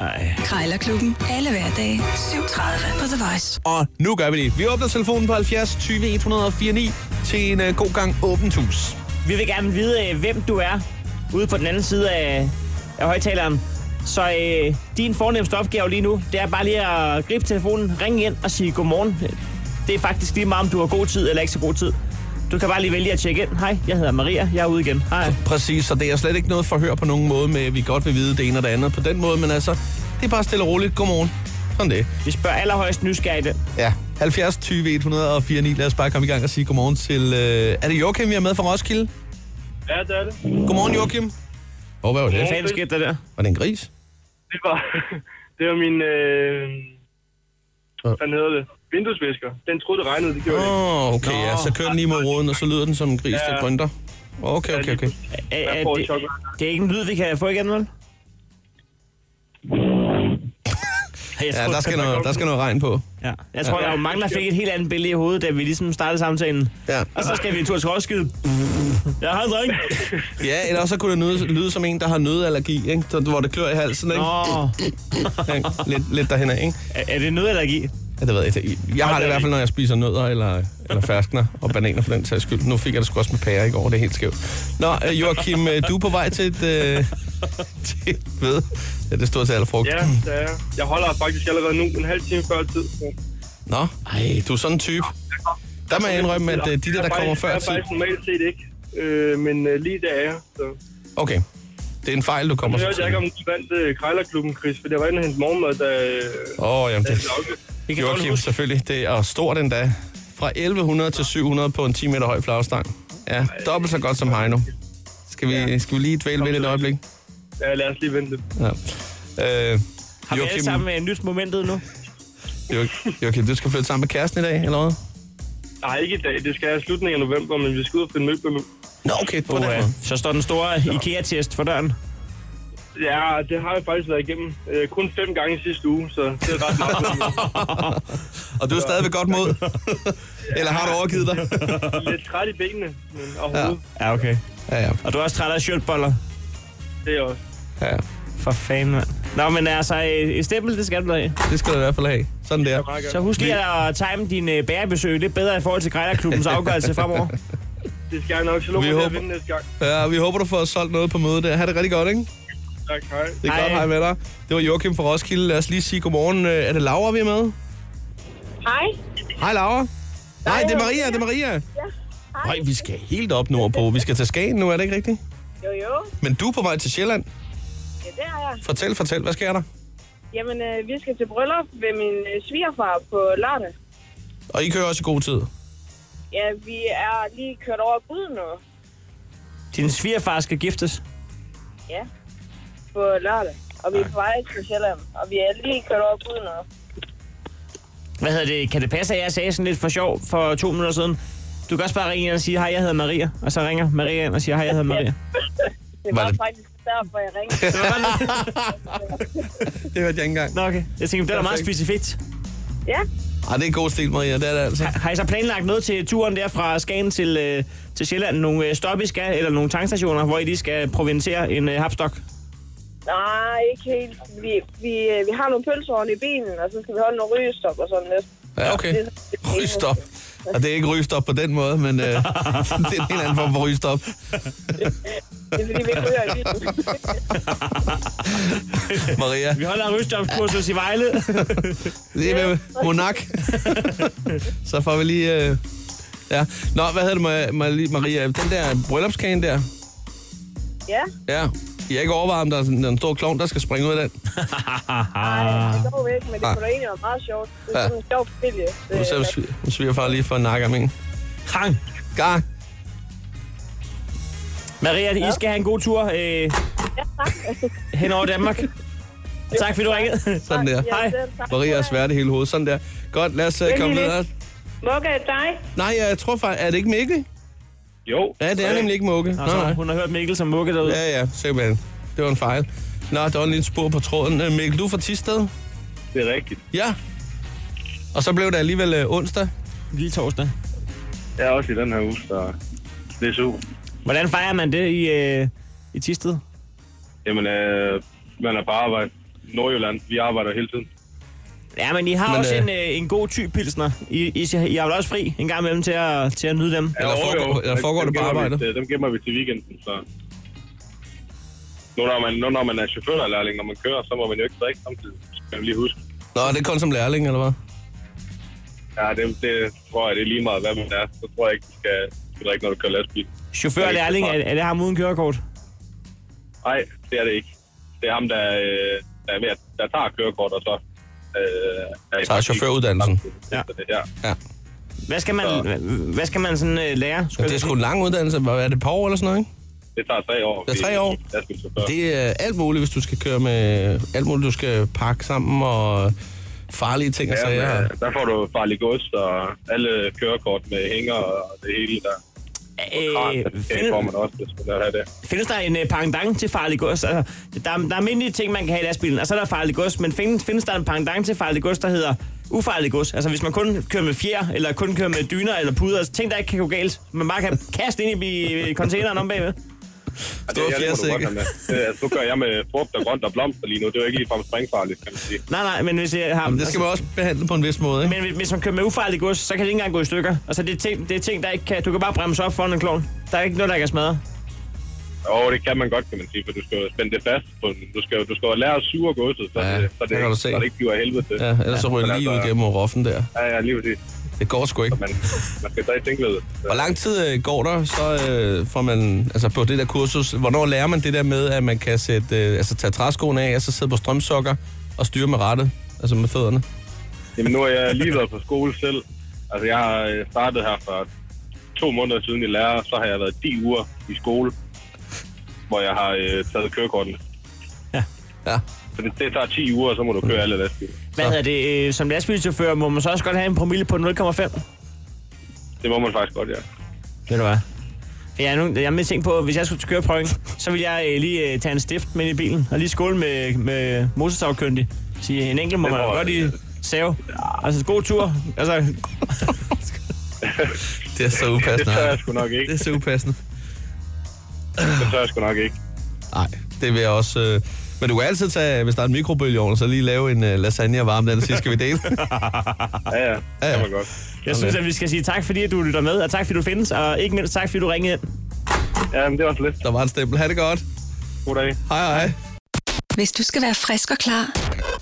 S4: Ej.
S5: Krejlerklubben. Alle hverdage. 7.30 på The Voice.
S3: Og nu gør vi det. Vi åbner telefonen på 70 20 104 9 til en uh, god gang åbent hus.
S4: Vi vil gerne vide, øh, hvem du er ude på den anden side af, af højtaleren. Så øh, din fornemmeste opgave lige nu, det er bare lige at gribe telefonen, ringe ind og sige godmorgen. Det er faktisk lige meget, om du har god tid eller ikke så god tid. Du kan bare lige vælge at tjekke ind. Hej, jeg hedder Maria, jeg er ude igen. Hej.
S3: Præcis, så det er slet ikke noget forhør på nogen måde med, at vi godt vil vide det ene og det andet på den måde, men altså, det er bare stille og roligt. Godmorgen. Sådan det.
S4: Vi spørger allerhøjst nysgerrigt.
S3: Ja. 70 20 104 9. Lad os bare komme i gang og sige godmorgen til... Øh, er det Joachim, vi er med fra Roskilde?
S7: Ja, det er det.
S3: Godmorgen, Joachim. Åh, hvad var det?
S4: Hvad fanden skete der der?
S3: Var det en gris?
S7: Det var, det var min... Øh,
S3: Hvad?
S7: hvad hedder det? Vinduesvisker. Den troede, det regnede, det gjorde det ikke.
S3: Åh, oh, okay, ja. Så kører den lige mod roden, og så lyder den som en gris, ja. der
S7: Ja.
S3: grønter. Okay, okay, okay.
S4: Er,
S7: Jeg
S4: er,
S7: får et
S4: det,
S7: chok.
S4: det er ikke en lyd, vi kan få igen, vel? Jeg
S3: Ja, der skal noget, der skal noget regn på.
S4: Ja. Jeg tror, der er jo mange, der fik et helt andet billede i hovedet, da vi ligesom startede samtalen.
S3: Ja.
S4: Og så skal vi en tur til Roskilde. Jeg har en dreng.
S3: Ja, eller også så kunne det lyde, lyde som en, der har nødallergi, ikke? Så, hvor det klør i halsen, ikke?
S4: Nå,
S3: Ikke? Lidt, lidt derhen af, ikke?
S4: er, er det nødallergi?
S3: Ja, det ved jeg ikke. Jeg har det i hvert fald, når jeg spiser nødder eller, eller ferskner og bananer for den sags skyld. Nu fik jeg det sgu også med pære i går, det er helt skævt. Nå, øh, Joachim, øh, du er på vej til et... Øh, til et ved. Ja, det står til alle frugt.
S7: Ja, det er jeg. Jeg holder faktisk allerede nu en halv time før tid. så-
S3: Nå, ej, du er sådan en type. Der må jeg indrømme, at øh, de der, der
S7: Jeg er
S3: kommer
S7: faktisk-
S3: før
S7: Jeg er
S3: tid...
S7: faktisk normalt set ikke, øh, men øh, lige der er jeg. Så.
S3: Okay, det er en fejl, du
S7: Nu
S3: kommer så
S7: hørte jeg
S3: til.
S7: ikke om du vandt øh, Krejlerklubben, Chris, for det var inde og hente morgenmad, da... Øh,
S3: Åh, oh, jamen det...
S4: Vi kan dårligt
S3: Joachim,
S4: huske.
S3: selvfølgelig. Det er og stort endda. Fra 1100 til 700 på en 10 meter høj flagstang. Ja, dobbelt så godt som Heino. Skal vi, skal vi lige dvæle ved det et øjeblik?
S7: ja, lad os lige vente lidt.
S3: Ja. Øh,
S4: Har vi alle
S3: Joachim,
S4: sammen øh, nyt momentet nu?
S3: Jo- Joachim, du skal flytte sammen med kæresten i dag, eller hvad?
S7: Nej, ikke i dag. Det skal jeg i slutningen af november, men vi skal ud og finde møbler nu.
S3: Nå, okay. På
S4: den måde. øh, Så står den store IKEA-test for døren.
S7: Ja, det har jeg faktisk været igennem. Øh, kun fem gange i sidste uge, så det er ret meget.
S3: Og du er stadig ved godt mod? Eller har du overgivet dig?
S7: Lidt træt i benene, men og
S4: Ja.
S7: hovedet,
S4: Ja, okay.
S3: Ja, ja.
S4: Og du er også træt af shirtboller?
S7: det er også.
S3: Ja.
S4: For fanden, mand. Nå, men altså, øh, et stempel, det skal du da have.
S3: Det skal du i hvert fald have. Sådan der.
S4: Så husk lige at time dine bærebesøg lidt bedre i forhold til Grejlerklubbens afgørelse fremover.
S7: Det skal jeg nok. Så
S3: Vi
S7: lukker jeg at
S3: håber-
S7: vinde næste gang.
S3: Ja, vi håber, du får solgt noget på mødet der. Ha' det rigtig godt, ikke?
S7: Tak, hej.
S3: Det er hej. godt, hej med dig. Det var Joachim fra Roskilde. Lad os lige sige godmorgen. Øh, Er det Laura, vi er med?
S11: Hej.
S3: Hej, Laura. Nej, det er Maria,
S11: Maria.
S3: det er Maria.
S11: Ja.
S3: Nej, vi skal helt op nordpå. Vi skal til Skagen nu, er det ikke rigtigt?
S11: Jo, jo.
S3: Men du er på vej til Sjælland.
S11: Ja, det er jeg.
S3: Fortæl, fortæl, hvad sker der?
S11: Jamen, øh, vi skal til bryllup ved min øh, svigerfar på lørdag.
S3: Og I kører også i god tid.
S11: Ja, vi er lige kørt over bud nu.
S4: Din svigerfar skal giftes.
S11: Ja. På lørdag. Og vi er på vej til Sjælland. Og vi er lige kørt over bud nu.
S4: Hvad hedder det? Kan det passe, at jeg sagde sådan lidt for sjov for to minutter siden? Du kan også bare ringe ind og sige, hej, jeg hedder Maria. Og så ringer Maria ind og siger, hej, jeg hedder Maria.
S11: Det
S4: Var
S11: var,
S4: det-
S11: faktisk derfor, jeg ringede.
S3: Det hørte jeg ikke engang.
S4: Nå, okay. Jeg tænkte, det er da meget specifikt.
S11: ja.
S3: Ej, det er en god stil, Maria. Det er det altså.
S4: Har I så planlagt noget til turen der fra Skagen til, øh, til Sjælland? Nogle øh, stop i skal, eller nogle tankstationer, hvor I lige skal provintere en øh, hapstok?
S11: Nej, ikke helt. Vi, vi, øh, vi har nogle pølser oven i bilen, og så skal vi holde nogle rygestop og sådan lidt.
S3: Ja, okay.
S11: Det er sådan lidt eneste.
S3: Rygstop. Og det er ikke rygstop på den måde, men øh, det er en helt anden form for rygstop.
S11: Det er fordi, vi ikke hører i bilen.
S3: Maria.
S4: Vi holder rygstopskursus i Vejle.
S3: Lige med Monak. Så får vi lige... Øh, ja. Nå, hvad hedder det, Ma- Ma- Maria? Den der bryllupskane der.
S11: Ja.
S3: Ja. I har ikke overvejet, om der er sådan en stor klovn, der skal springe ud af den?
S11: Nej, det går vi ikke, men det kunne da egentlig være meget sjovt. Det er
S3: Ja.
S11: sådan en sjov familie.
S3: Nu ser vi svi- nu svigerfar lige for en nakke om en.
S4: Hang.
S3: Gang.
S4: Maria, I skal have en god tur øh, hen over Danmark. Tak fordi du ringede.
S3: Sådan der.
S4: Hej.
S3: Maria er svært i hele hovedet. Sådan der. Godt, lad os øh, komme
S11: Veldig
S3: videre.
S11: Mokka, dig?
S3: Nej, jeg tror faktisk... Er det ikke Mikkel?
S7: Jo.
S3: Ja, det er nemlig ikke Mugge.
S4: Nå, så Altså, hun har hørt Mikkel som Mugge derude.
S3: Ja, ja, simpelthen. Det var en fejl. Nå, der var en lille spor på tråden. Øh, Mikkel, du er fra Tisted?
S7: Det er rigtigt.
S3: Ja. Og så blev det alligevel øh, onsdag.
S4: Lille torsdag.
S7: Jeg er også i den her uge, så det er super.
S4: Hvordan fejrer man det i, øh, i Tisted?
S7: Jamen, øh, man er bare arbejde. Nordjylland, vi arbejder hele tiden.
S4: Ja, men I har
S7: Men,
S4: men, også
S7: øh,
S4: øh... en, øh, en god typ pilsner. I, I, I har vel også fri en gang imellem til at, til at nyde dem?
S7: Ja, jo, jo.
S3: eller foregår
S7: Dem
S3: det på
S7: gemmer vi
S3: arbejdet?
S7: til- Dem gemmer vi til weekenden, så... Nu når man, nu, når man er chauffør eller lærling, når man kører, så må man jo ikke drikke samtidig. Det Skal man lige huske.
S3: Nå, det er kun som lærling, eller hvad?
S7: Ja, det, det tror jeg, det er lige meget, hvad man er. Så tror jeg ikke, du skal, skal drikke, når du kører lastbil.
S4: Chauffør og lærling, er, er det ham uden kørekort?
S7: Nej, det er det ikke. Det er ham, der, øh, der, er ved, at- der tager kørekort og så... Øh, er i
S3: Tager
S7: praktik.
S3: chaufføruddannelsen.
S7: Ja. ja.
S4: Hvad skal man, hva- hvad skal man sådan øh, lære?
S3: Ja, det er sgu en lang uddannelse. Hvad er det, et par år eller sådan noget, ikke?
S7: Det tager tre år.
S3: Det er tre år.
S7: Lastbilchauffør.
S3: Det er øh, alt muligt, hvis du skal køre med... øh, Alt muligt, du skal pakke sammen og øh, farlige ting og
S7: Ja,
S3: sager.
S7: men, øh, der får du farlig gods og alle kørekort med hænger og det hele der.
S4: Øh,
S7: Og kran, det
S4: find-
S7: får man også, hvis man har det.
S4: Findes der en øh, pangdang til farlig gods? Altså, der, er, der er almindelige ting, man kan have i lastbilen, og så er der farlig gods, men findes, findes der en pangdang til farlig gods, der hedder ufarlig gods? Altså hvis man kun kører med fjer, eller kun kører med dyner eller puder, altså, ting der ikke kan gå galt, man bare kan kaste ind i, i containeren om bagved.
S7: Og Altså, det, jeg, det, må du godt have med. Det, altså, nu gør jeg med frugt og grønt og blomster lige nu. Det er jo ikke ligefrem springfarligt, kan man sige.
S4: Nej, nej, men hvis jeg har...
S7: Jamen, det skal man
S3: også behandle på en vis måde,
S4: ikke? Men hvis- hvis man kører med ufarlig gods, så kan det ikke engang gå i stykker. Altså det er ting, det er ting der ikke kan... Du kan bare bremse op foran en klovn. Der er ikke noget, der kan smadre.
S7: Og det kan man godt, kan man sige, for du skal jo spænde det fast. På, den. du skal, jo- du skal jo lære at suge godset, så, ja, det, så, det,
S3: det kan
S7: ikke,
S3: du se.
S7: så det ikke bliver af helvede til.
S3: Ja, ellers så ryger det
S7: Men
S3: lige ud
S7: altså,
S3: gennem roffen der.
S7: Ja, ja, lige præcis.
S3: Det går sgu ikke.
S7: Man, man skal stadig tænke lidt.
S3: Hvor lang tid øh, går der, så øh, får man, altså på det der kursus, hvornår lærer man det der med, at man kan sætte, øh, altså tage træskoene af, og så sidde på strømsokker og styre med rettet, altså med fødderne?
S7: Jamen, nu har jeg lige været på skole selv. Altså, jeg har øh, startet her for to måneder siden i lærer, så har jeg været 10 uger i skole, hvor jeg har øh, taget kørekortene.
S3: Ja.
S7: Så det, det tager 10 uger, og så må du
S3: Mm.
S7: køre alle lastbiler.
S4: Hvad hedder det? øh, Som lastbilchauffør må man så også godt have en promille på 0,5? Ved
S7: Det må man faktisk godt, ja.
S4: du hvad? For Jeg er, nu, jeg er med tænkt på, at hvis jeg skulle til køreprøven, så ville jeg øh, lige øh, tage en stift med i bilen, og lige skåle med, med motorstavkyndig. Sige, en enkelt må man godt lige save. Altså, god tur. Altså,
S3: Det er så upassende.
S7: Det tør jeg sgu nok ikke.
S3: Det er så upassende.
S7: Det tør jeg sgu nok ikke.
S3: Nej, det vil jeg også... Øh... Men du kan altid tage, hvis der er en mikrobølgeovn, så lige lave en øh, lasagne og varme den, og sige, skal vi dele?
S7: ja, ja.
S3: Ah. ja, ja.
S7: godt.
S4: Jeg synes, at vi skal sige tak, fordi du lytter med, og tak, fordi du findes, og ikke mindst tak, fordi du ringede ind.
S7: Ja, men det var så lidt.
S3: Der var en stempel. Ha' det godt.
S7: God dag.
S3: Hej, hej.
S5: Hvis du skal være frisk og klar,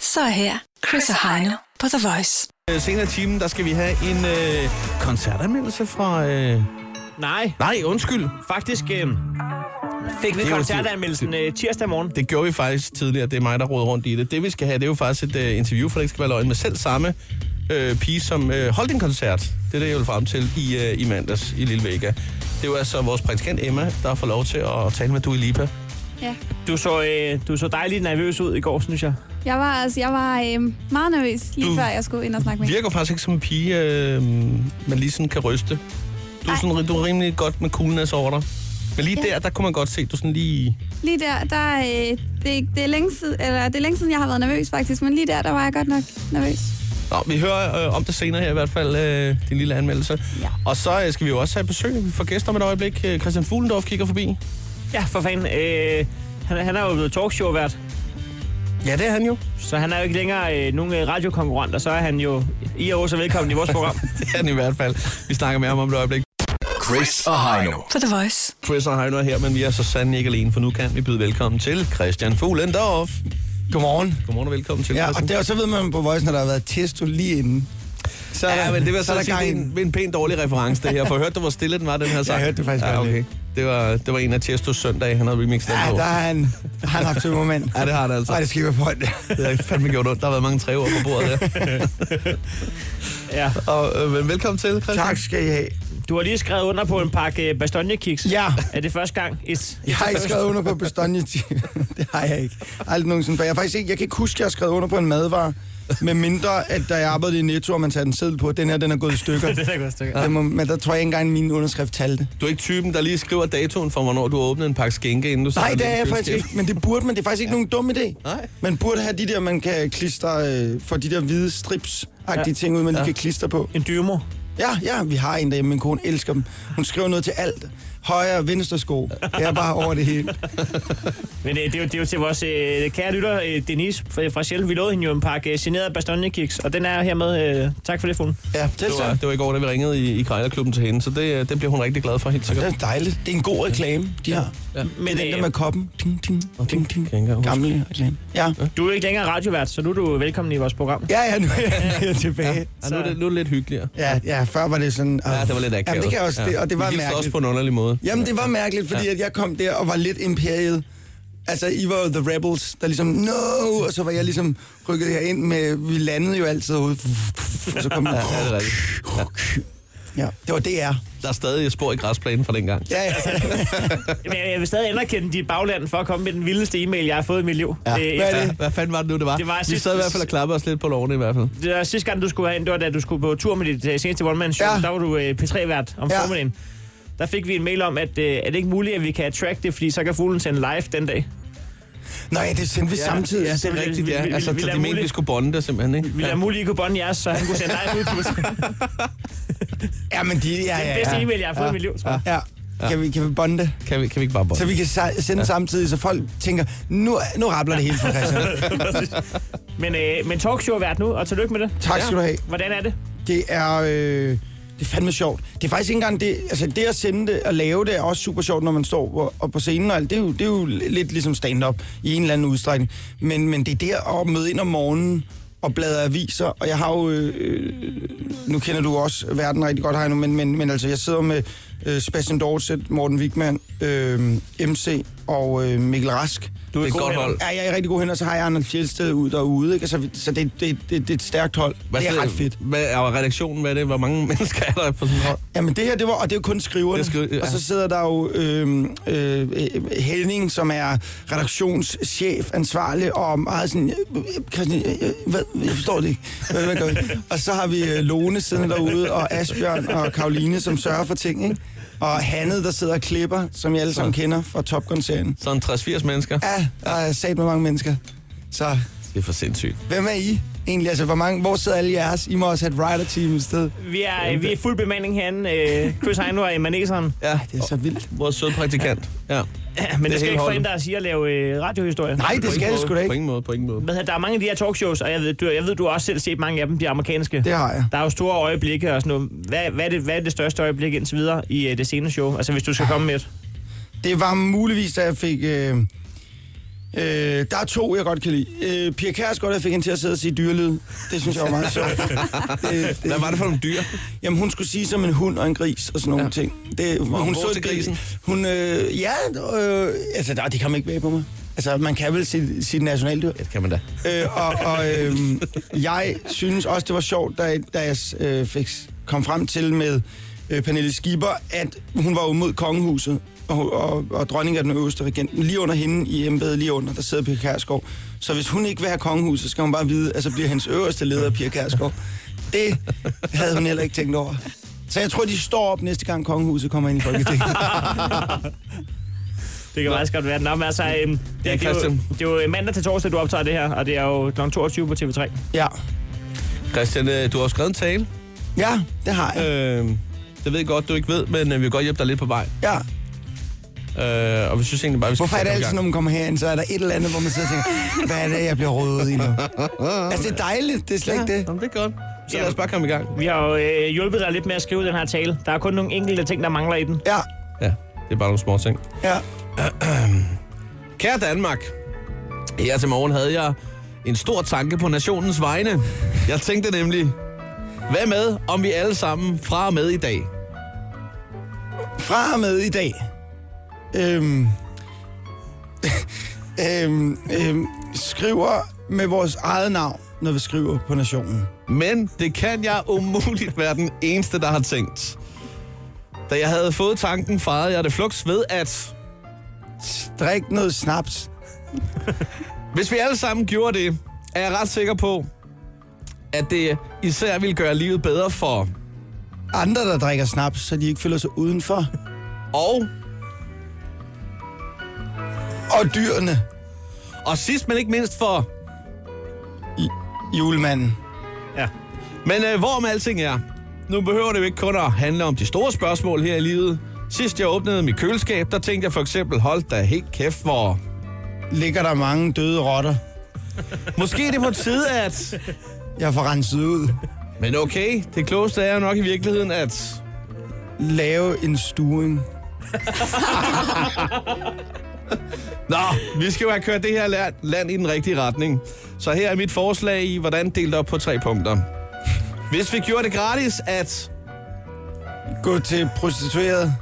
S5: så er her Chris og Heino på The Voice.
S3: Øh, Senere i timen, der skal vi have en øh, koncertanmeldelse fra... Øh...
S4: Nej.
S3: Nej, undskyld.
S4: Faktisk øh, fik vi
S3: Det er jo-
S4: koncertanmeldelsen øh, tirsdag morgen.
S3: Det gjorde vi faktisk tidligere. Det er mig, der råder rundt i det. Det, vi skal have, det er jo faktisk et øh, interview, for det ikke skal være løgn, med selv samme øh, pige, som øh, holdt en koncert. Det er det, jeg vil frem til i, øh, i mandags i Lille Vega. Det var altså vores praktikant Emma, der får lov til at tale med Dua Lipa.
S6: Ja.
S4: Du så, øh, du så dejligt nervøs ud i går, synes jeg.
S6: Jeg var, altså, jeg var øh, meget nervøs, lige
S3: Du
S6: du... før jeg skulle ind og snakke med hende.
S3: Virker faktisk ikke som en pige, øh, man lige sådan kan ryste. Du er, sådan, du er rimelig godt med coolness over dig. Men lige
S6: Ja.
S3: der, der kunne man godt se, du sådan lige...
S6: Lige der, der øh, det, det, er længe siden, eller, det er længe siden, jeg har været nervøs faktisk, men lige der, der var jeg godt nok nervøs.
S3: Nå, vi hører øh, om det senere her i hvert fald, øh, din lille anmeldelse. Ja. Og så øh, skal vi jo også have besøg for gæster om et øjeblik. Øh, Christian Fuglendorf kigger forbi.
S4: Ja, for fanden. Øh, han, han er jo blevet talkshow-vært.
S3: Ja, det er han jo.
S4: Så han er jo ikke længere øh, nogen øh, radiokonkurrent, og så er han jo i og så velkommen i vores program.
S3: det er han i hvert fald. Vi snakker med ham om et øjeblik. Chris og Heino.
S5: På The Voice.
S3: Chris og Heino er her, men vi er så sandelig ikke alene, for nu kan vi byde velkommen til Christian Fuglendorf.
S12: Godmorgen.
S3: Godmorgen og velkommen til.
S12: Ja, og
S3: Christian.
S12: det, og så ved man på Voice, når der har været testo lige inden. Så
S3: ja, men det var så,
S12: er
S3: så sige, det er
S12: gang i den.
S3: en, det er en pænt dårlig reference, det her. For hørte du, hvor stille den var, den her sang?
S12: Jeg hørte det faktisk
S3: ja,
S12: godt
S3: okay. Det var, det var en af Tiestos søndage, han havde remixet den
S12: Ja,
S3: på.
S12: der har han, han har haft et moment.
S3: Ja, det har det altså.
S12: Ej, det skal være på
S3: Det har fandme gjort ondt. Der har været mange træer på bordet der.
S4: ja.
S3: Og, øh, men velkommen til, Christian.
S12: Tak skal I have.
S4: Du har lige skrevet under på en pakke øh, bastonjekiks.
S12: Ja.
S4: Er det første gang? Is,
S12: Jeg har ikke skrevet under på Bastogne. det har jeg ikke. Aldrig nogensinde. For jeg, har faktisk ikke, jeg kan ikke huske, at jeg har skrevet under på en madvare. Med mindre, at da jeg arbejdede i Netto, og man satte en seddel på, den her, den er gået i stykker.
S4: Den er gået i stykker.
S12: Den må, men der tror jeg ikke engang, min underskrift talte.
S3: Du er ikke typen, der lige skriver datoen for, hvornår du har åbnet en pakke skænke, inden du sætter
S12: Nej,
S3: den
S12: det
S3: i
S12: er jeg faktisk
S3: køleskabet.
S12: ikke. Men det burde man. Det er faktisk ikke nogen dum idé.
S3: Nej.
S12: Man burde have de der, man kan klistre, øh, for de der hvide strips
S4: Ja.
S12: agtige ting ud, man lige
S4: Ja.
S12: kan klistre på.
S4: En dymo.
S12: Ja, ja, vi har en derhjemme. Min kone elsker dem. Hun skriver noget til alt. Højre og venstre sko. Jeg er bare over det hele.
S4: Men øh, det, er jo, det er jo til vores øh, kære lytter, øh, Denise fra, fra Sjæl. Vi lovede hende jo en pakke øh, generede bastonjekiks, og den er hermed. Øh, tak for det, Fuglen.
S12: Ja, det,
S3: Det var, det var i går, da vi ringede i, i Krejlerklubben til hende, så det, øh, det bliver hun rigtig glad for, helt sikkert.
S12: Det er dejligt. Det er en god reklame, de har.
S3: Ja.
S4: Men
S12: Men den der
S4: øh,
S12: med koppen. Ting, ting, ting, ting.
S3: Jeg kan
S12: Gamle reklame. Ja.
S4: du er ikke længere radiovært, så nu er du velkommen i vores program.
S12: Ja, ja, nu er jeg tilbage.
S3: Ja, nu, er det, nu er det lidt hyggeligere.
S12: Ja, ja, før var det sådan...
S3: Ja, det var lidt akavet.
S12: Jamen, det kan jeg også, det, og det var
S3: Vi hilste også
S12: mærkeligt.
S3: på en underlig måde.
S12: Jamen, det var mærkeligt, fordi at jeg kom der og var lidt imperiet. Altså, I var jo The Rebels, der ligesom, no, og så var jeg ligesom rykket herind med, vi landede jo altid ud, og så kom
S3: Ja, ja, det er rigtigt. Ja.
S12: Ja, det var DR.
S3: Der er stadig spor i græsplænen fra dengang.
S12: Ja, ja.
S4: Men jeg, jeg vil stadig anerkende dit bagland for at komme med den vildeste e-mail, jeg har fået i mit liv.
S12: Ja.
S4: Øh,
S12: Hvad er
S4: efter-
S12: det?
S3: Hvad fanden var det nu, det var?
S4: Det var
S3: vi
S4: sidst-
S3: sad i hvert fald og klappede os lidt på lovene i hvert fald.
S4: Det var sidste gang, du skulle herind, det var da du skulle på tur med dit øh, seneste one-man-show.
S12: Ja.
S4: Der var du øh, P3-vært om
S12: Ja.
S4: formiddagen. Der fik vi en mail om, at øh, er det ikke muligt, at vi kan track det, fordi så kan fuglen sende live den dag.
S12: Nej, det sendte vi samtidig.
S3: Ja, det er rigtigt,
S4: Vi-
S3: ja.
S4: vi-
S3: Altså,
S4: vi
S3: så
S4: lader
S3: de mente,
S4: muligt-
S3: vi skulle bonde det simpelthen, ikke?
S4: Vi lader muligt ikke kunne bonde jeres, så han kunne sende live ud. Det er
S12: Ja, men de, ja, ja, ja.
S4: den bedste e-mail, jeg har fået
S12: Ja.
S4: i mit liv, tror jeg.
S12: Ja. Kan vi, kan vi bonde det?
S3: Kan vi, kan vi ikke bare bonde?
S12: Så vi kan sa- sende ja. samtidig, så folk tænker, nu, nu rabler det hele for Christian.
S4: Men, øh, men talkshow er vært nu, og tillykke med det.
S12: Tak skal du have.
S4: Hvordan er det?
S12: Det er... Øh, det er fandme sjovt. Det er faktisk ikke engang det... Altså, det at sende det og lave det er også super sjovt, når man står på, og på scenen og alt. Det er jo, det er jo lidt ligesom stand-up i en eller anden udstrækning. Men, men det er der at møde ind om morgenen og bladre aviser. Og jeg har jo... Øh, øh, nu kender du også verden rigtig godt, Heino, men, men, men altså, jeg sidder med øh, Sebastian Dorset, Morten Wigman, øh, MC og øh, Mikkel Rask.
S3: Du er et godt hold.
S12: Ja, jeg er rigtig god hen, og så har jeg Arnold Fjeldsted ud derude, ikke? Så, vi- så det, det, det, det er et stærkt hold.
S3: Hvad
S12: det er
S3: sted-
S12: ret fedt.
S3: Hvad er redaktionen? Hvad er det? Hvor mange mennesker er der på sådan et hold?
S12: Jamen det her, det var, og det er jo kun skriverne.
S3: Det er skri- ja.
S12: Og så sidder der jo øh, øh, Henning, som er redaktionschef, ansvarlig og meget sådan, øh, Christian, øh, øh, hvad, jeg forstår det ikke. Hvad, hvad gør vi? og så har vi øh, Lone siddende derude, og Asbjørn og Karoline, som sørger for ting, ikke? Og Hanne, der sidder og klipper, som jeg alle sammen kender fra Top Gun-serien.
S3: Sådan 60-80 mennesker?
S12: Ja, der er sat med mange mennesker. Så
S3: Det er for sindssygt.
S12: hvem er I egentlig? Altså, hvor, mange, hvor sidder alle jeres? I må også have et rider-team et sted.
S4: Vi er, vi er fuld bemanding herinde. Øh, Chris Heino er i maneseren.
S12: Ja, det er så vildt.
S3: Vores søde praktikant. Ja.
S4: Men det,
S3: er
S4: det skal
S3: hele
S4: ikke
S3: holdet.
S4: forhindre os i at lave øh, radiohistorier.
S12: Nej, det
S4: På
S12: skal
S4: ingen
S12: det sgu da ikke.
S3: På ingen måde, på ingen måde.
S4: Hvad hedder, der er mange af de her talkshows, og jeg ved, du, jeg ved, du har også selv set mange af dem, de amerikanske.
S12: Det har jeg.
S4: Der er jo store øjeblikke og sådan noget. Hvad, hvad, er, det, hvad er det største øjeblik indtil videre i øh, det seneste show? Altså, hvis du skal komme med et.
S12: Det var muligvis, da jeg fik... Øh, øh, der er to, jeg godt kan lide. Øh, Pia Kærsgaard, jeg fik hende til at sidde og sige dyrelyd. Det synes jeg var meget sjovt.
S3: Hvad var det for nogle dyr?
S12: Jamen, hun skulle sige som en hund og en gris og sådan nogle ja. ting. Det,
S3: Hvor-
S12: hun
S3: hvor til
S12: det-
S3: grisen?
S12: Hun, øh, ja, øh, altså, der, det kom ikke bag på mig. Altså, man kan vel sige sit nationaldyr.
S3: Det kan man da.
S12: Øh, og og øh, jeg synes også, det var sjovt, da, da jeg øh, fik, kom frem til med øh, Pernille Skipper, at hun var jo mod kongehuset, og, og, og dronningen er den øverste regent. Men Lige under hende i embedet, lige under, der sidder Pia Kærsgaard. Så hvis hun ikke vil have kongehuset, skal hun bare vide, at så bliver hendes øverste leder Pia Kærsgaard. Det havde hun heller ikke tænkt over. Så jeg tror, de står op næste gang kongehuset kommer ind i Folketinget.
S4: Det kan faktisk godt være. Nå, men altså, øh, det,
S12: Ja,
S4: det, er jo,
S12: Christian.
S4: det er jo øh, mandag til torsdag, du optager det her, og det er jo kl. 22 på TV3.
S12: Ja.
S3: Christian, øh, du har jo skrevet en tale.
S12: Ja, det har jeg.
S3: Øh, det ved jeg godt, du ikke ved, men øh, vi vil godt hjælpe dig lidt på vej.
S12: Ja.
S3: Øh, og vi synes egentlig bare, vi skal
S12: Hvorfor er det
S3: komme i
S12: altid,
S3: gang.
S12: når man kommer herind, så er der et eller andet, hvor man sidder og tænker, hvad er det, jeg bliver rodet i nu? Altså, det er dejligt, det er slet ikke det.
S3: Jamen, det er godt. Så lad os bare komme i gang.
S4: Vi har jo øh, hjulpet dig lidt med at skrive den her tale. Der er kun nogle enkelte ting, der mangler i den.
S12: Ja.
S3: Ja, det er bare nogle små ting.
S12: Ja.
S3: Kære Danmark, her til morgen havde jeg en stor tanke på nationens vegne. Jeg tænkte nemlig, hvad med, om vi alle sammen fra og med i dag?
S12: Fra og med i dag. Øhm, øhm, øhm, skriver med vores eget navn, når vi skriver på Nationen.
S3: Men det kan jeg umuligt være den eneste, der har tænkt. Da jeg havde fået tanken, fejrede jeg det flux ved, at
S12: Drik er noget snaps.
S3: Hvis vi alle sammen gjorde det, er jeg ret sikker på, at det især ville gøre livet bedre for
S12: Andre, der drikker snaps, så de ikke føler sig udenfor.
S3: og...
S12: Og dyrene.
S3: Og sidst, men ikke mindst for...
S12: Julemanden.
S4: Ja.
S3: Men øh, hvorom alting er, nu behøver det jo ikke kun at handle om de store spørgsmål her i livet. Sidst jeg åbnede mit køleskab, der tænkte jeg for eksempel, hold da helt kæft, hvor...
S12: Ligger der mange døde rotter,
S3: Måske er det på tide, at...
S12: jeg får renset ud.
S3: Men okay, det klogeste er jo nok i virkeligheden, at...
S12: Lave en stuing.
S3: Nå, vi skal jo have kørt det her la- land i den rigtige retning. Så her er mit forslag i, hvordan delt op på tre punkter. Hvis vi gjorde det gratis, at...
S12: Gå til prostitueret.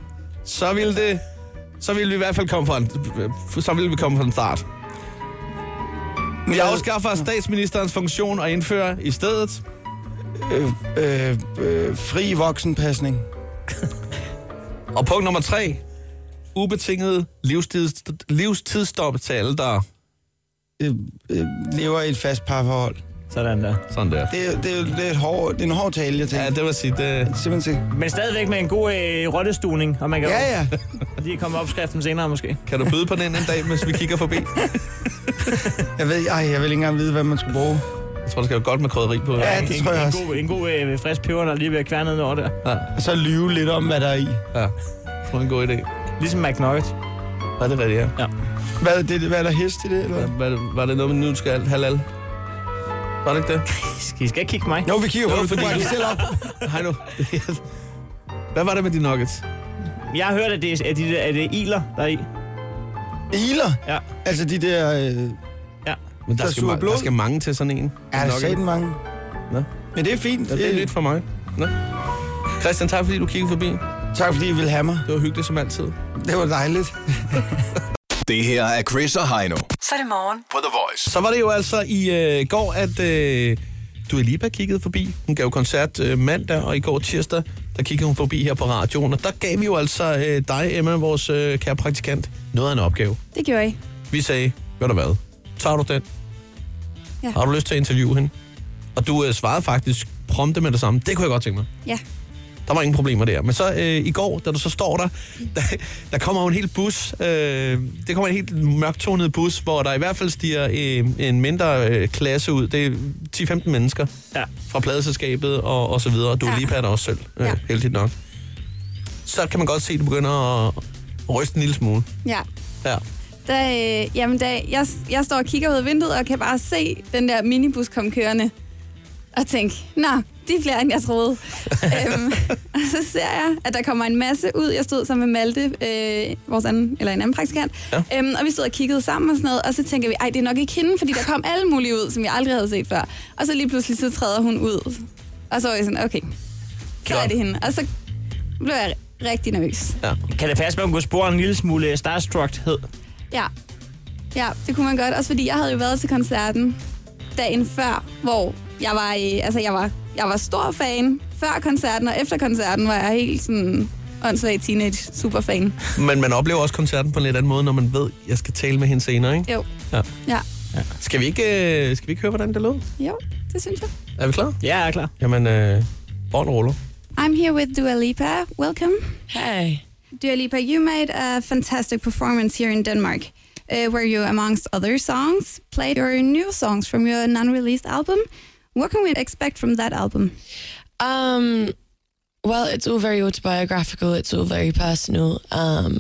S3: Så ville det... Så ville vi i hvert fald komme fra en, så ville vi komme fra en start. Vi afskaffer statsministerens funktion og indfører i stedet...
S12: Øh, øh, øh, fri voksenpasning.
S3: Og punkt nummer tre. Ubetinget livstids, livstidsstop til alle, der...
S12: Øh, øh, lever i et fast parforhold.
S4: Sådan der.
S3: Sådan der.
S12: Det, er- det, er- det, er, et hård, det er en hård tale, jeg tænker.
S3: Ja, det vil sige, det...
S12: Simpelthen til.
S4: Men stadigvæk med en god øh, rottestuning, og man kan
S12: Ja, ja.
S4: jo lige komme med opskriften senere måske.
S3: Kan du byde på den en dag, hvis vi kigger forbi?
S12: Jeg ved, ej, jeg vil ikke engang vide, hvad man skal bruge.
S3: Jeg tror, det skal være godt med krydderi på.
S12: Ja, det
S4: en,
S12: tror jeg
S4: en,
S12: også.
S4: god, en god øh, frisk peber, der lige bliver kværnet over der.
S3: Ja,
S12: Og så lyve lidt om, hvad der er i.
S3: ja. Det var en god idé.
S4: Ligesom McNugget.
S3: Var det, hvad det er?
S12: Hvad, er det, hvad er der hest i det, eller hvad?
S3: Var det, var det noget med nu skal alt halal? Var det ikke det?
S4: Skal I skal ikke kigge mig?
S12: Jo, vi kigger på
S3: Jo,
S12: det,
S3: fordi
S12: fordi
S3: du-
S12: du selv op.
S3: Hej nu. Hvad var det med de nuggets?
S4: Jeg har hørt, at det er, at de, at det er iler, der er i.
S12: Iler.
S4: Ja.
S12: Altså de der... Øh,
S4: Ja.
S3: Men der,
S12: Der
S3: skal,
S12: suger
S3: ma- der
S12: blod.
S3: skal mange til sådan en.
S12: er der sat mange?
S3: Nå.
S12: Men det er fint.
S3: Ja, det er nyt for mig. Nå. Christian, tak fordi du kiggede forbi.
S12: Tak fordi I ville have mig.
S3: Det var hyggeligt som altid.
S12: Det var dejligt.
S2: Det her er Chris og Heino.
S5: Så er det morgen.
S2: På The Voice.
S3: Så var det jo altså i øh, går, at øh, Dua Lipa kiggede forbi. Hun gav koncert øh, mandag, og i går tirsdag, der kiggede hun forbi her på radioen. Og der gav vi jo altså øh, dig, Emma, vores øh, kære praktikant, noget af en opgave.
S6: Det gjorde I.
S3: Vi sagde, ved du hvad, tager du den?
S6: Ja.
S3: Har du lyst til at interviewe hende? Og du øh, svarede faktisk prompte med det samme. Det kunne jeg godt tænke mig.
S6: Ja.
S3: Der var ingen problemer der. Men så øh, i går, da du så står der, der, der kommer jo en hel bus. Øh, det kommer en helt mørktonet bus, hvor der i hvert fald stiger øh, en mindre øh, klasse ud. Det er 10-15 mennesker ja. fra pladeselskabet og, og så videre. Og du ja. lige der også selv, øh, ja. heldigt nok. Så kan man godt se, at du begynder at ryste en lille smule.
S6: Ja.
S3: Ja.
S6: Der, øh, jamen, der, jeg, jeg står og kigger ud af vinduet og kan bare se den der minibus komme kørende. Og tænke, nå, de er flere, end jeg troede. øhm, og så ser jeg, at der kommer en masse ud. Jeg stod sammen med Malte, øh, vores anden, eller en anden praktikant. Ja. Øhm, og vi stod og kiggede sammen og sådan noget. Og så tænker vi, ej, det er nok ikke hende, fordi der kom alle mulige ud, som jeg aldrig havde set før. Og så lige pludselig, så træder hun ud. Og så var jeg sådan, okay, så er det hende. Og så blev jeg rigtig nervøs.
S3: Ja.
S4: Kan det passe, at man kunne spore en lille smule øh, starstruckhed?
S6: Ja. ja, det kunne man godt. Også fordi jeg havde jo været til koncerten dagen før, hvor jeg var, øh, altså, jeg var, jeg var stor fan før koncerten, og efter koncerten var jeg helt sådan åndssvag teenage superfan.
S3: Men man oplever også koncerten på en lidt anden måde, når man ved, at jeg skal tale med hende senere, ikke?
S6: Jo.
S3: Ja.
S6: Ja,
S3: ja. Skal, vi ikke, øh, skal vi ikke høre, hvordan det lød?
S6: jo, det synes jeg.
S3: Er vi klar?
S4: Ja, jeg er klar.
S3: Jamen, øh, bånd ruller.
S6: I'm here with Dua Lipa. Welcome. Hey. Dua Lipa, you made a fantastic performance here in Denmark, uh, where you, amongst other songs, played your new songs from your non-released album. What can we expect from that album?
S13: Um, well, it's all very autobiographical. It's all very personal. Um,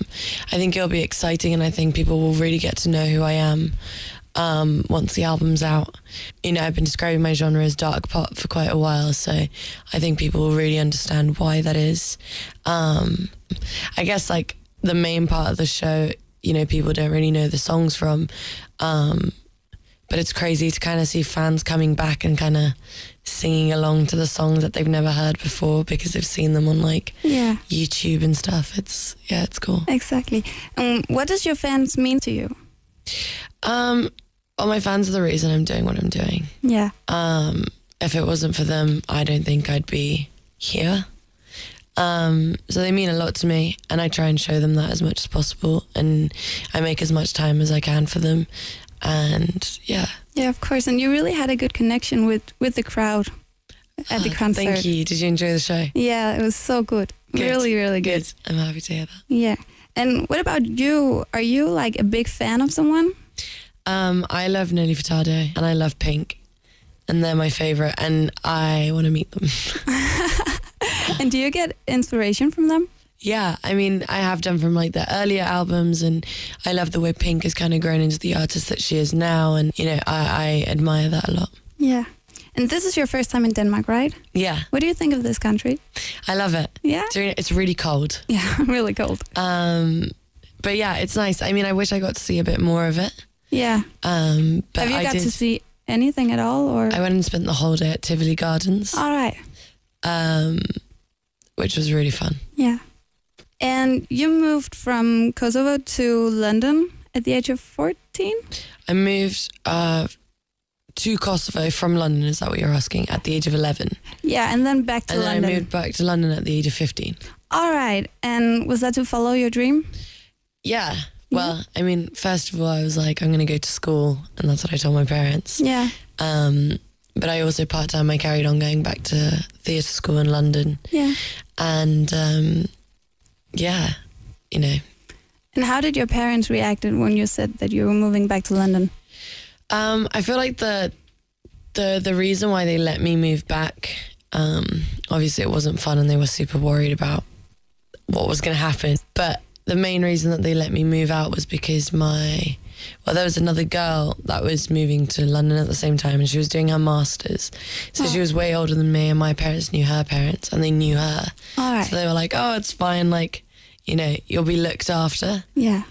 S13: I think it'll be exciting, and I think people will really get to know who I am um, once the album's out. You know, I've been describing my genre as dark pop for quite a while, so I think people will really understand why that is. Um, I guess like the main part of the show, you know, people don't really know the songs from. Um, but it's crazy to kind of see fans coming back and kind of singing along to the songs that they've never heard before because they've seen them on like
S6: Yeah,
S13: YouTube and stuff. It's yeah, it's cool.
S6: exactly. Um, what does your fans mean to you?
S13: Um, well, my fans are the reason I'm doing what I'm doing.
S6: Yeah.
S13: Um, if it wasn't for them, I don't think I'd be here. Um, so they mean a lot to me, and I try and show them that as much as possible, and I make as much time as I can for them. And yeah,
S6: Yeah, of course. And you really had a good connection with with the crowd at the concert.
S13: thank you. Did you enjoy the show?
S6: Yeah, it was so good.
S13: Good.
S6: Really, really good.
S13: I'm happy to hear that.
S6: Yeah. And what about you? Are you like a big fan of someone?
S13: Um, I love Nelly Furtado and I love Pink, and they're my favorite, and I want to meet them.
S6: And do you get inspiration from them?
S13: Yeah, I mean, I have done from like the earlier albums, and I love the way Pink has kind of grown into the artist that she is now, and you know, I, I admire that a lot.
S6: Yeah. And this is your first time in Denmark, right?
S13: Yeah,
S6: What do you think of this country?
S13: I love it.
S6: Yeah.
S13: it's really, it's really cold.
S6: Yeah, really cold.
S13: Um, but yeah, it's nice. I mean, I wish I got to see a bit more of it.
S6: Yeah.
S13: Um, but
S6: Have you
S13: I
S6: got
S13: did,
S6: to see anything at all or
S13: I went and spent the whole day at Tivoli Gardens,
S6: All right.
S13: um, which was really fun.
S6: Yeah. And you moved from Kosovo to London at the age of 14?
S13: I moved uh, to Kosovo from London. Is that what you're asking? At the age of eleven,
S6: Yeah, and then back to
S13: and
S6: London.
S13: then I moved back to London at the age of fifteen.
S6: All right. And was that to follow your dream?
S13: Yeah. Well, I mean, first of all, I was like, I'm going to go to school, and that's what I told my parents.
S6: Yeah.
S13: Um, but I also part time I carried on going back to theatre school in London,
S6: Yeah.
S13: and um, yeah, you know,
S6: And how did your parents react when you said that you were moving back to London?
S13: Um, I feel like the the the reason why they let me move back, um, obviously it wasn't fun, and they were super worried about what was going to happen. But the main reason that they let me move out was because my well, there was another girl that was moving to London at the same time, and she was doing her masters, so she was way older than me, and my parents knew her parents, and they knew her,
S6: All right.
S13: so they were like, "Oh, it's fine, like." You know, you'll be looked after,
S6: Yeah.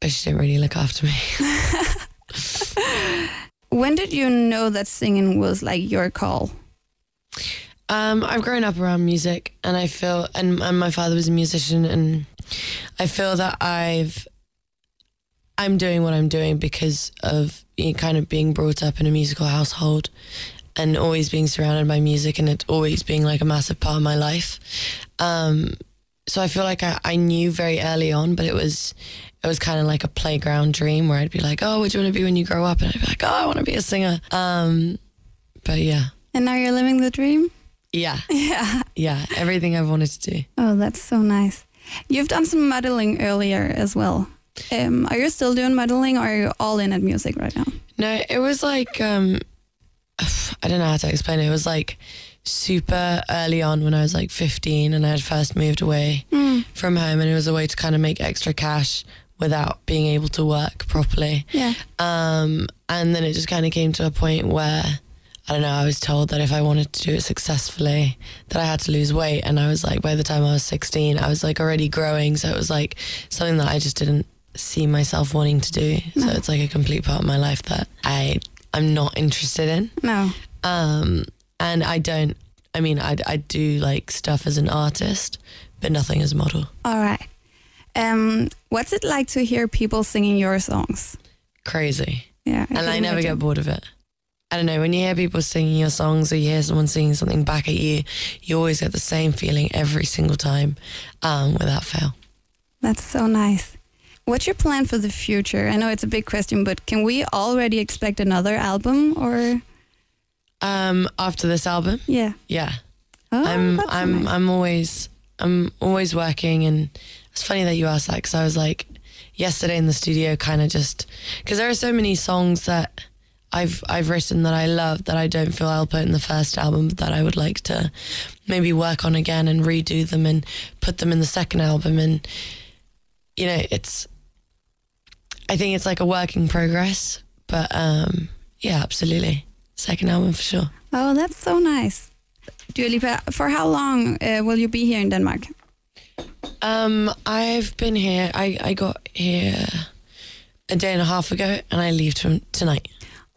S13: but she didn't really look after me.
S6: When did you know that singing was like your call?
S13: Um, I've grown up around music, and I feel, and, and my father was a musician, and I feel that I've, I'm doing what I'm doing because of you know, kind of being brought up in a musical household, and always being surrounded by music, and it always being like a massive part of my life. Um, so I feel like I, I knew very early on, but it was, it was kind of like a playground dream where I'd be like, oh, what do you want to be when you grow up? And I'd be like, oh, I want to be a singer. Um, but yeah,
S6: And now you're living the dream?
S13: yeah.
S6: Yeah.
S13: Yeah, everything I've wanted to do.
S6: Oh, that's so nice. You've done some modeling earlier as well. Um, are you still doing modeling or are you all in at music right now?
S13: No, it was like um I don't know how to explain it. It was like super early on when I was like 15 and I had first moved away
S6: Mm.
S13: from home and it was a way to kind of make extra cash without being able to work properly.
S6: Yeah.
S13: Um and then it just kind of came to a point where I don't know, I was told that if I wanted to do it successfully that I had to lose weight and I was like by the time I was 16 I was like already growing so it was like something that I just didn't see myself wanting to do. So it's like a complete part of my life that I I'm not interested in.
S6: No.
S13: Um, and I don't. I mean, I I do like stuff as an artist, but nothing as a model.
S6: All right. Um, what's it like to hear people singing your songs?
S13: Crazy.
S6: Yeah.
S13: and I
S6: can
S13: never
S6: imagine.
S13: get bored of it. I don't know. When you hear people singing your songs or you hear someone singing something back at you, you always get the same feeling every single time, um, without fail.
S6: That's so nice. What's your plan for the future? I know it's a big question, but can we already expect another album or?
S13: Um, after this album,
S6: Yeah.
S13: yeah,
S6: Oh,
S13: I'm
S6: that's so
S13: I'm
S6: nice.
S13: I'm always I'm always working, and it's funny that you asked that because I was like yesterday in the studio, kind of just because there are so many songs that I've I've written that I love that I don't feel I'll put in the first album, but that I would like to maybe work on again and redo them and put them in the second album, and you know, it's I think it's like a work in progress, but um, yeah, absolutely, second album for sure.
S6: Oh, that's so nice. Dua Lipa, for how long uh, will you be here in Denmark?
S13: Um, I've been here. I, I got here a day and a half ago, and I leave to, tonight.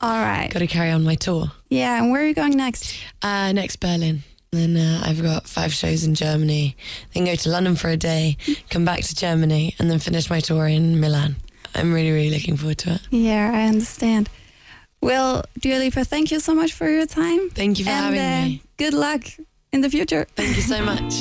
S6: All right.
S13: Got to carry on my tour.
S6: Yeah, and where are you going next?
S13: Uh, next Berlin. Then uh, I've got five shows in Germany. Then go to London for a day, come back to Germany, and then finish my tour in Milan. I'm really, really looking forward to it.
S6: Yeah, I understand. Well, Dua Lipa, thank you so much for your time.
S13: Thank you for
S6: and,
S13: having
S6: uh,
S13: me.
S6: Good luck in the future.
S13: Thank you so much.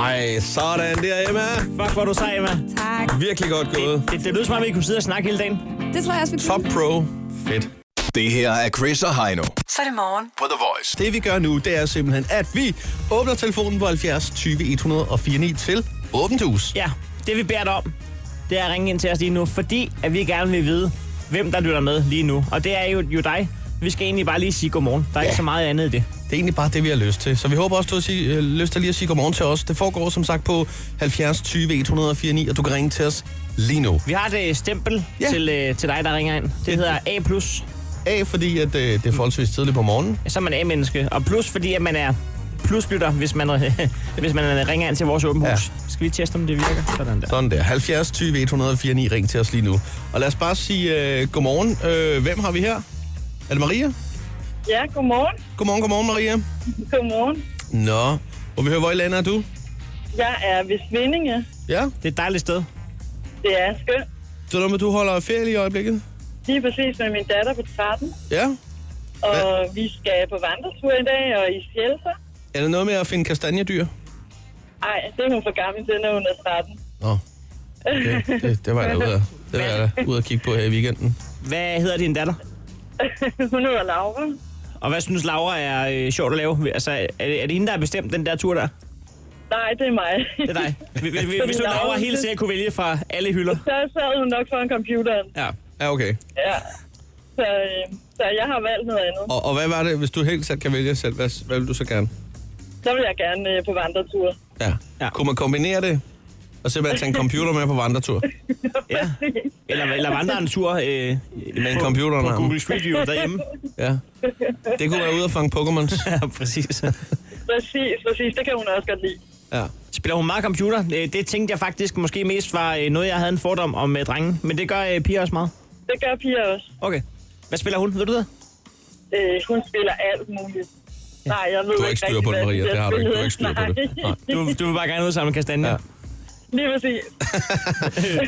S3: Ej, sådan der, Emma.
S4: Fuck, hvor er du sej, Emma.
S6: Tak.
S3: Virkelig godt gået.
S4: Det, det lyder som om, vi kunne sidde og snakke hele dagen.
S6: Det tror jeg også, vi
S3: Top pro. Fedt.
S2: Det her er Chris og Heino.
S5: Så er det morgen.
S2: På The Voice.
S3: Det vi gør nu, det er simpelthen, at vi åbner telefonen på 70 20 104 9 til åbent hus.
S4: Ja, det vi bærer dig om, det er at ringe ind til os lige nu, fordi at vi gerne vil vide, hvem der lytter med lige nu. Og det er jo, jo dig. Vi skal egentlig bare lige sige godmorgen. Der er ja. ikke så meget andet i det.
S3: Det er egentlig bare det, vi har lyst til. Så vi håber også, du har sige, øh, lyst til lige at sige godmorgen til os. Det foregår som sagt på 70 20 104 9, og du kan ringe til os lige nu.
S4: Vi har et øh, stempel
S3: Ja.
S4: ja. til, øh, til dig, der ringer ind. Det hedder A+.
S3: A, fordi at, øh, det er forholdsvis tidligt på morgenen.
S4: Så er man A-menneske. Og plus, fordi at man er pluslytter, hvis man, hvis man øh, ringer ind til vores åben hus. Ja. Skal vi teste, om det virker? Sådan der.
S3: Sådan der. 70 20 104 9, ring til os lige nu. Og lad os bare sige øh, godmorgen. Øh, hvem har vi her? Er det Maria?
S11: Ja, godmorgen.
S3: Godmorgen, godmorgen Maria.
S11: Godmorgen.
S3: Nå, og vi hører, hvor i landet er du?
S11: Jeg er ved Svindinge.
S3: Ja?
S4: Det er et dejligt sted.
S11: Det er skønt.
S3: Så er det med, du holder ferie i øjeblikket?
S11: Lige præcis med min datter på 13.
S3: Ja?
S11: Og vi skal på vandretur i dag, og i Sjælser.
S3: Er det noget med at finde kastanjedyr?
S11: Ej, det er hun for gammel til, når hun er 13.
S3: Nå, okay. det, det var jeg da ude at, det var jeg da ude at kigge på her i weekenden.
S4: Hvad hedder din datter?
S11: hun hedder Laura.
S4: Og hvad synes Laura er øh, sjovt at lave? Altså, er det, er det hende, der har bestemt den der tur der?
S11: Nej, det er mig.
S4: Det er dig. Hvis, hvis, hvis du Laura helt sikkert kunne vælge fra alle hylder.
S11: Så sad hun nok foran computeren.
S4: Ja.
S3: Ja, okay.
S11: Ja. Så, øh, så jeg har valgt noget andet.
S3: Og, og hvad var det, hvis du helt selv kan vælge selv, hvad, hvad vil du så gerne?
S11: Så vil jeg gerne øh, på vandretur.
S3: Ja. ja. Kunne man kombinere det? Og simpelthen tage en computer med på vandretur?
S4: ja. Eller, eller vandre en tur øh,
S3: Med en
S4: på-
S3: computer
S4: på Google Street View derhjemme.
S3: Ja. Det kunne være ude at fange Pokémons.
S4: ja, præcis.
S11: Præcis, præcis. Det kan hun også godt lide.
S3: Ja.
S4: Spiller hun meget computer? Øh, Det tænkte jeg faktisk måske mest var øh, noget, jeg havde en fordom om med drenge. Men det gør øh, piger også meget.
S11: Det gør piger også.
S4: Okay. Hvad spiller hun? Ved du det?
S11: Øh, hun spiller alt muligt. Nej, jeg ved
S3: Du har ikke styr på det, Maria. Det har du ikke. Du har ikke styr på det.
S11: Nej.
S4: Du, du vil bare gerne ud sammen med kastanjer. Ja.
S11: Lige præcis.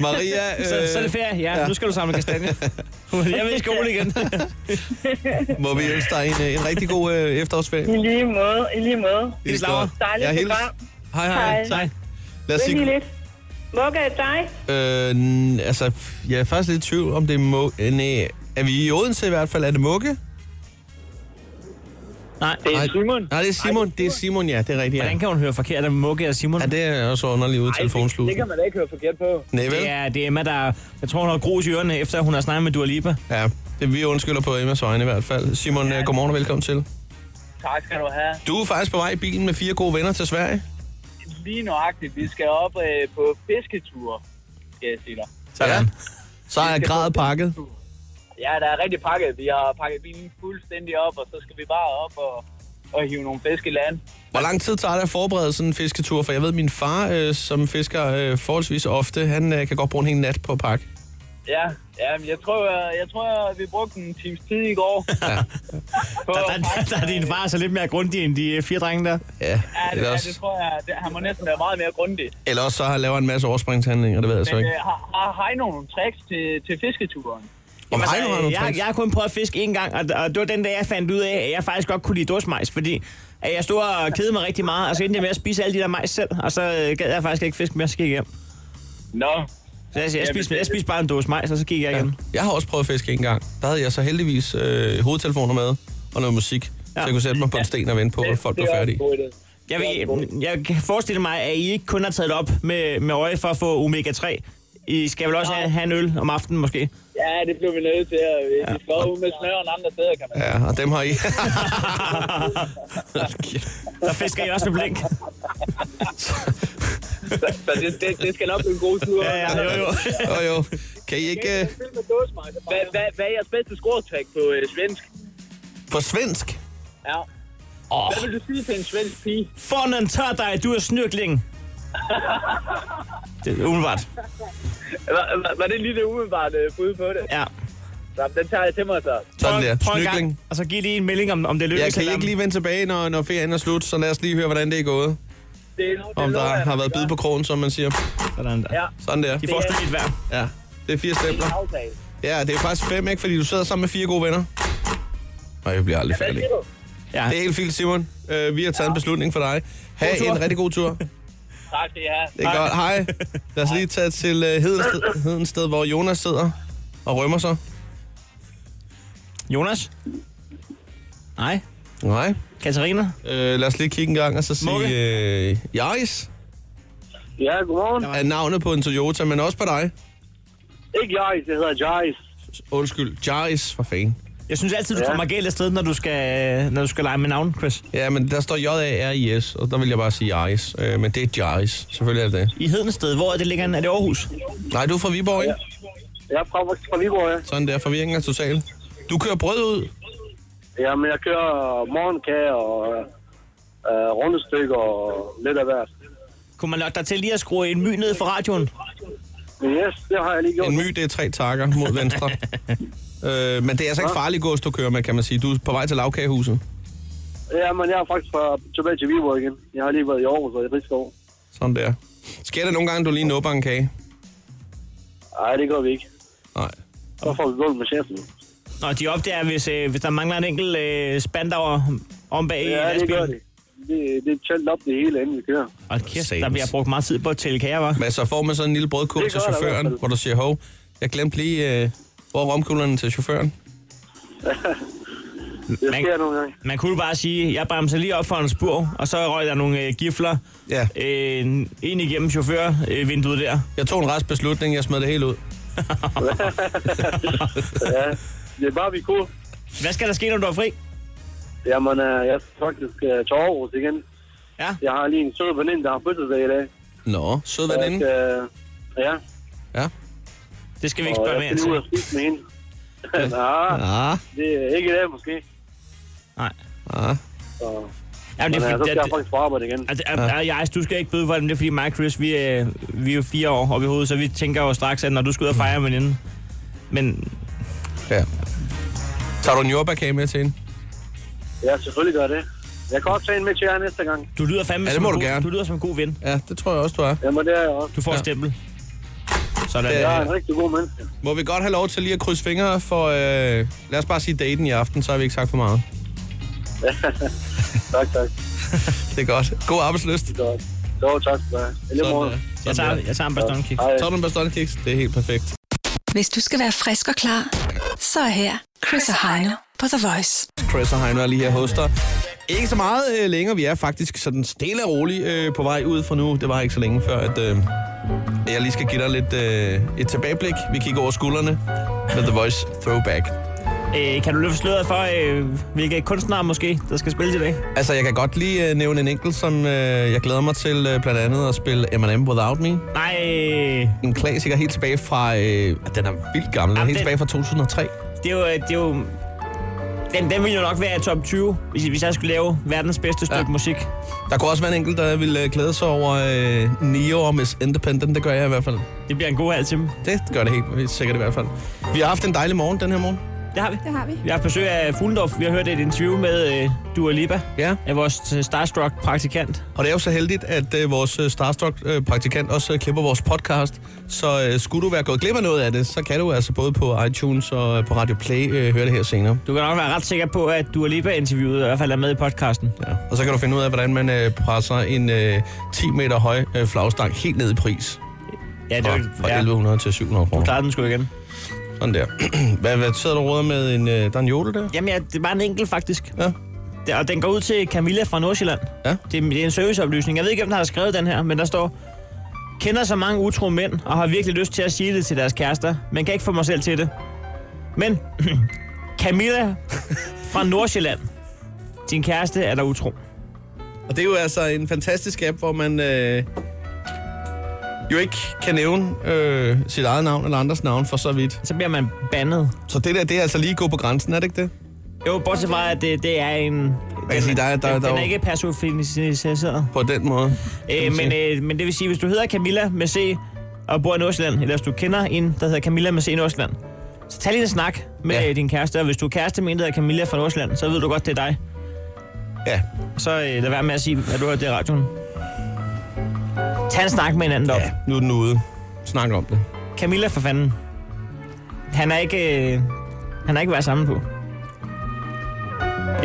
S3: Maria,
S4: så,
S3: øh,
S4: så er det ferie. Ja,
S3: ja.
S4: ja. nu skal du samle kastanjer. Jeg vil i skole igen.
S3: Må vi ønske dig en, øh, en rigtig god øh, efterårsferie.
S11: I lige måde, i lige måde.
S3: Hils Laura.
S11: Dejligt
S3: Ja, hils.
S11: program.
S3: Hej, hej.
S11: Hej.
S3: Lad os sige,
S11: lidt. Mokka er dig.
S3: øh, n- altså, f- jeg er faktisk lidt i tvivl, om det er må... øh, Næ, er vi i Odense i hvert fald? Er det Mugge?
S4: Nej.
S3: Det er Simon. Nej, det er Simon. Det er Simon, ja. Det er rigtigt.
S4: Hvordan kan hun høre forkert af Mugge og Simon?
S3: Ja, det er også underligt ude i telefonsluget.
S14: man da ikke høre forkert på.
S3: Nej, vel?
S4: Det er, det er Emma, der... Jeg tror, hun har grus i ørerne, efter hun har snakket med Dua Lipa.
S3: Ja, det vi undskylder på Emmas vegne i hvert fald. Simon, ja. godmorgen og velkommen til.
S14: Tak skal du have.
S3: Du er faktisk på vej i bilen med fire gode venner til Sverige.
S14: Lige nøjagtigt, vi skal op øh, på fisketur, skal jeg sige dig.
S3: Sådan. Ja. Så er grad pakket.
S14: Ja, der er rigtig pakket. Vi har pakket bilen fuldstændig op, og så skal vi bare op og, og hive nogle fisk i land.
S3: Hvor lang tid tager det at forberede sådan en fisketur? For jeg ved, at min far, øh, som fisker øh, forholdsvis ofte, han øh, kan godt bruge en hel nat på at pakke.
S14: Ja, ja men jeg tror, jeg, jeg tror, vi brugte en times tid i går.
S3: Ja.
S14: På,
S4: Der, der, der er din far så lidt mere grundig end de øh, fire drenge der.
S3: Ja,
S14: ja, det,
S3: Eller
S14: ja,
S3: også-
S14: det tror jeg, det, han må næsten være meget mere grundig.
S3: Eller også så har- laver han en masse overspringshandlinger, det ved jeg så
S14: Men
S3: ikke.
S14: øh, har, har, har I nogle tricks til, til fisketuren?
S3: Om har du nogle
S4: øh, Altså, jeg, jeg,
S3: tricks?
S4: jeg har kun prøvet at fiske én gang, og, og det var den dag, jeg fandt ud af, at jeg faktisk godt kunne lide dåsmajs, fordi at jeg stod og kedede mig rigtig meget, og så endte jeg med at spise alle de der majs selv, og så øh, gad jeg faktisk ikke fisk mere, så gik jeg hjem.
S14: Nå.
S4: Så jeg, jeg, spiste, jeg spiste bare en dåse majs, og så gik jeg igen.
S3: Jeg har også prøvet at fiske en gang. Der havde jeg så heldigvis øh, hovedtelefoner med og noget musik. Ja. Så jeg kunne sætte mig på en sten og vente på, at folk blev færdige.
S4: Jeg, ved, jeg kan forestille mig, at I ikke kun har taget det op med, med øje for at få omega-3. I skal vel også have, have en øl om aftenen måske?
S14: Ja, det blev vi nødt til. Og vi ja. skal ud med snøren andre steder, kan man sige.
S3: Ja, og dem har I.
S4: Der fisker I også med blink.
S14: Så, så det, det, det, skal nok blive en god tur.
S4: Ja, ja, jo, jo.
S3: jo, jo. Kan I ikke... Øh,
S14: Hvad, hvad, hvad er jeres bedste scoretræk på øh, svensk?
S3: på svensk?
S14: Ja.
S4: Åh.
S14: Hvad vil du sige til en svensk pige?
S4: Fornen tør dig, du er snyrkling. Det er umiddelbart.
S14: Var, var, var det lige det umiddelbart øh, bud på det?
S4: Ja.
S14: Så, den tager jeg til mig så.
S3: Sådan
S4: Prøv-
S3: der.
S4: prøv en gang,
S3: Snykling.
S4: Og så giv lige en melding, om, om det lykkes.
S3: Jeg kan I
S4: eller om-
S3: ikke lige vende tilbage, når, når ferien er slut, så lad os lige høre, hvordan det er gået.
S14: Det er,
S3: Om der har været bid på krogen, som man siger.
S4: Sådan der.
S14: Ja.
S3: Sådan der.
S4: De får også lidt værd.
S3: Ja, det er fire stempler.
S14: aftale.
S3: Ja, det er faktisk fem, ikke? Fordi du sidder sammen med fire gode venner. Nej, jeg bliver aldrig færdig.
S4: Ja.
S3: Det er helt fint, Simon. Øh, vi har taget en beslutning for dig. Ha'
S14: tur.
S3: en rigtig god tur.
S14: Tak skal I have.
S3: Det er godt. Hej. Lad os lige tage til uh, Hedensted, Hedensted, hvor Jonas sidder og rømmer sig.
S4: Jonas? Nej.
S3: Nej.
S4: Katarina?
S3: Øh, lad os lige kigge en gang og så sige... Øh, Jaris?
S15: Ja, godmorgen.
S3: Er navnet på en Toyota, men også på dig.
S15: Ikke Jaris, det hedder Jaris.
S3: Undskyld, Jaris, for fanden.
S4: Jeg synes altid, du
S15: Ja.
S4: kommer galt afsted, når du skal, når du skal lege med navn, Chris.
S3: Ja, men der står J-A-R-I-S, og der vil jeg bare sige Jaris. Øh, men det er Jaris. Selvfølgelig er det det.
S4: I Hedensted, hvor er det ligger? Er det Aarhus?
S3: Nej, du er fra Viborg, ikke?
S15: Jeg er fra, fra Viborg, ja.
S3: Sådan der, forvirringen er total. Du kører brød ud.
S15: Jamen, jeg kører morgenkage og øh, rundestykker og lidt af hvert.
S4: Kunne man lokke dig til lige at skrue en my ned for radioen?
S15: Yes, det har jeg lige gjort.
S3: En my, det er tre takker mod venstre. øh, men det er altså ikke farlig gås, du kører med, kan man sige. Du er på vej til lavkagehuset.
S15: Jamen, jeg er faktisk fra, tilbage til Viborg igen. Jeg har lige været i Aarhus og i Rigskov.
S3: Sådan der. Sker det nogle gange, du lige nupper en kage?
S15: Nej, det gør vi ikke.
S3: Nej.
S15: Så får vi gulvet med chefen.
S4: Nå, de opdager, hvis, øh, hvis der mangler en enkelt øh, spand over om bag i
S15: Ja, det gør
S4: lastbilen.
S15: det. Det, det er tjent op det hele, inden vi kører.
S4: Og kæft, der bliver brugt meget tid på at tælle kager, var.
S3: Men så får man sådan en lille brødkugle
S15: Det
S3: til
S15: gør der i
S3: chaufføren,
S15: hvert fald.
S3: hvor du siger, hov, jeg glemte lige, øh, hvor er romkuglerne til chaufføren?
S15: Det sker nogle gange.
S4: Man kunne bare sige, jeg bremser lige op for en spur, og så røg der nogle øh, gifler
S3: ja.
S4: øh, ind igennem chaufførvinduet der.
S3: Jeg tog en rask beslutning, jeg smed det hele ud.
S15: ja, det er bare, vi kunne.
S4: Hvad skal der ske, når du er fri?
S15: Jamen, øh, jeg skal faktisk øh, til Aarhus igen.
S4: Ja.
S15: Jeg har lige en sød veninde, der har fødselsdag i dag.
S3: Nå, sød
S15: Så jeg
S3: veninde.
S15: skal- Ja.
S4: Det skal vi ikke spørge
S15: og
S4: mere
S15: jeg skal lige ud
S4: ind
S15: og spise med hende. Nej,
S3: Ah,
S15: det er ikke i dag måske.
S4: Nej.
S3: ah.
S15: Så,
S4: Ja,
S15: men,
S4: det
S15: øh,
S4: er
S15: så
S4: fordi,
S15: skal
S4: at,
S15: jeg faktisk på arbejde igen.
S4: at, at, at, jeg, du skal ikke bøde for det, men det er fordi mig og Chris, vi er, vi er jo fire år oppe i hovedet, så vi tænker jo straks, at når du skal ud og fejre med inden. Men
S3: Ja. Tager du en jordbærkage med til hende?
S15: Ja, selvfølgelig gør jeg det. Jeg kan også tage en med til jer næste gang.
S4: Du lyder fandme
S3: Ja, det
S4: som
S3: må
S4: en
S3: du
S4: god,
S3: gerne.
S4: Du lyder som en god ven.
S3: Ja, det tror jeg også, du er.
S15: Jamen, det er jeg også.
S4: Du får ja. stempel. Sådan.
S3: Det-
S15: Jeg er en rigtig god menneske.
S3: Må vi godt have lov til lige at krydse fingre for, øh, lad os bare sige daten i aften, så har vi ikke sagt for meget.
S15: tak, tak.
S3: Det er godt. God arbejdslyst. Det
S15: er godt. Jo, tak skal du have. I lige måde.
S4: Jeg tager, jeg tager en bastonkiks.
S15: Hej.
S3: Tager du en bastonkiks? Det er helt perfekt.
S5: Hvis du skal være frisk og klar, så er her Chris og Heino på The Voice.
S3: Chris og Heino er lige her hos dig. Ikke så meget øh, længere. Vi er faktisk sådan stille og roligt øh, på vej ud fra nu. Det var ikke så længe før, at øh, jeg lige skal give dig lidt øh, et tilbageblik. Vi kigger over skuldrene med The Voice Throwback.
S4: Øh, kan du løfte sløret for, øh, hvilke kunstnere måske, der skal spille i dag?
S3: Altså, jeg kan godt lige øh, nævne en enkelt, som øh, jeg glæder mig til øh, blandt andet at spille M&M Without Me.
S4: Nej! øh,
S3: En klassiker helt tilbage fra... Øh, den er vildt gammel. Den er
S4: Jamen,
S3: helt
S4: den-
S3: tilbage fra 2003.
S4: Det er jo... øh, Det er jo den, den ville jo nok være i top 20, hvis, hvis jeg skulle lave verdens bedste stykke ja. musik.
S3: Der kunne også være en enkelt, der ville øh, glæde sig over øh, Neo og Miss Independent. Det gør jeg i hvert fald.
S4: Det bliver en god halv time.
S3: Det gør det helt sikkert i hvert fald. Vi har haft en dejlig morgen den her morgen.
S4: Det har vi.
S6: Det har vi.
S4: Jeg har haft besøg af Fuglendorf. Vi har hørt et interview med øh, Dua Lipa.
S3: Ja.
S4: Af vores øh, starstruck praktikant.
S3: Og det er jo så heldigt, at øh, vores øh, Starstruck-praktikant også øh, klipper vores podcast. Så øh, skulle du være gået glip af noget af det, så kan du altså både på iTunes og øh, på Radio Play øh, høre det her senere.
S4: Du kan nok være ret sikker på, at Dua Lipa-interviewet i hvert fald er med i podcasten.
S3: Ja. Og så kan du finde ud af, hvordan man øh, presser en øh, 10 meter høj øh, flagstang helt ned i pris.
S4: Ja, det er
S3: fra,
S4: jo-
S3: fra
S4: ja.
S3: 1100 til 700 kroner.
S4: Du klarer den sgu igen.
S3: Sådan der. hvad, hvad sidder du og råder med? En, øh, der er en jodel der?
S4: Jamen, ja, det er bare en enkelt, faktisk.
S3: Ja.
S4: Det, og den går ud til Camilla fra Nordsjælland.
S3: Ja.
S4: Det, er, det er en serviceoplysning. Jeg ved ikke, hvem der har skrevet den her, men der står... Kender så mange utro mænd, og har virkelig lyst til at sige det til deres kærester, men kan ikke få mig selv til det. Men Camilla fra Nordsjælland, din kæreste er der utro.
S3: Og det er jo altså en fantastisk app, hvor man øh, jo ikke kan nævne øh, sit eget navn eller andres navn for så vidt.
S4: Så bliver man bandet.
S3: Så det der, det er altså lige gå på grænsen, er det ikke det?
S4: Jo, bortset fra, at det, det er en... Man
S3: kan sige, der er- der er- der
S4: Altså, den,
S3: er
S4: den er
S3: jo-
S4: ikke personificeret.
S3: På den måde.
S4: Øh, men, øh, men det vil sige, hvis du hedder Camilla med C og bor i Nordsjælland, eller hvis du kender en, der hedder Camilla med C i Nordsjælland, så tag lige en snak med ja. din kæreste, og hvis du er kæreste med en, der hedder Camilla fra Nordsjælland, så ved du godt, det er dig.
S3: Ja.
S4: Så øh, lad være med at sige, at du har det i radioen. Tag en snak med hinanden deroppe.
S3: Nu er den ude. Snak om det.
S4: Camilla for fanden. Han er ikke... Øh, han har ikke været sammen på.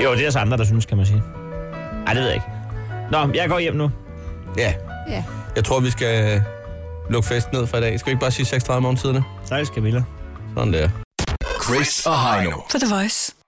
S4: Jo, det er der andre, der synes, kan man sige. Ej, det ved jeg ikke. Nå, jeg går hjem nu.
S3: Ja.
S6: Ja.
S3: Jeg tror, vi skal øh, lukke festen ned for i dag. Skal vi ikke bare sige 36 om tiderne?
S4: Tak, Camilla.
S3: Sådan der.
S2: Chris og Heino.
S5: På The Voice.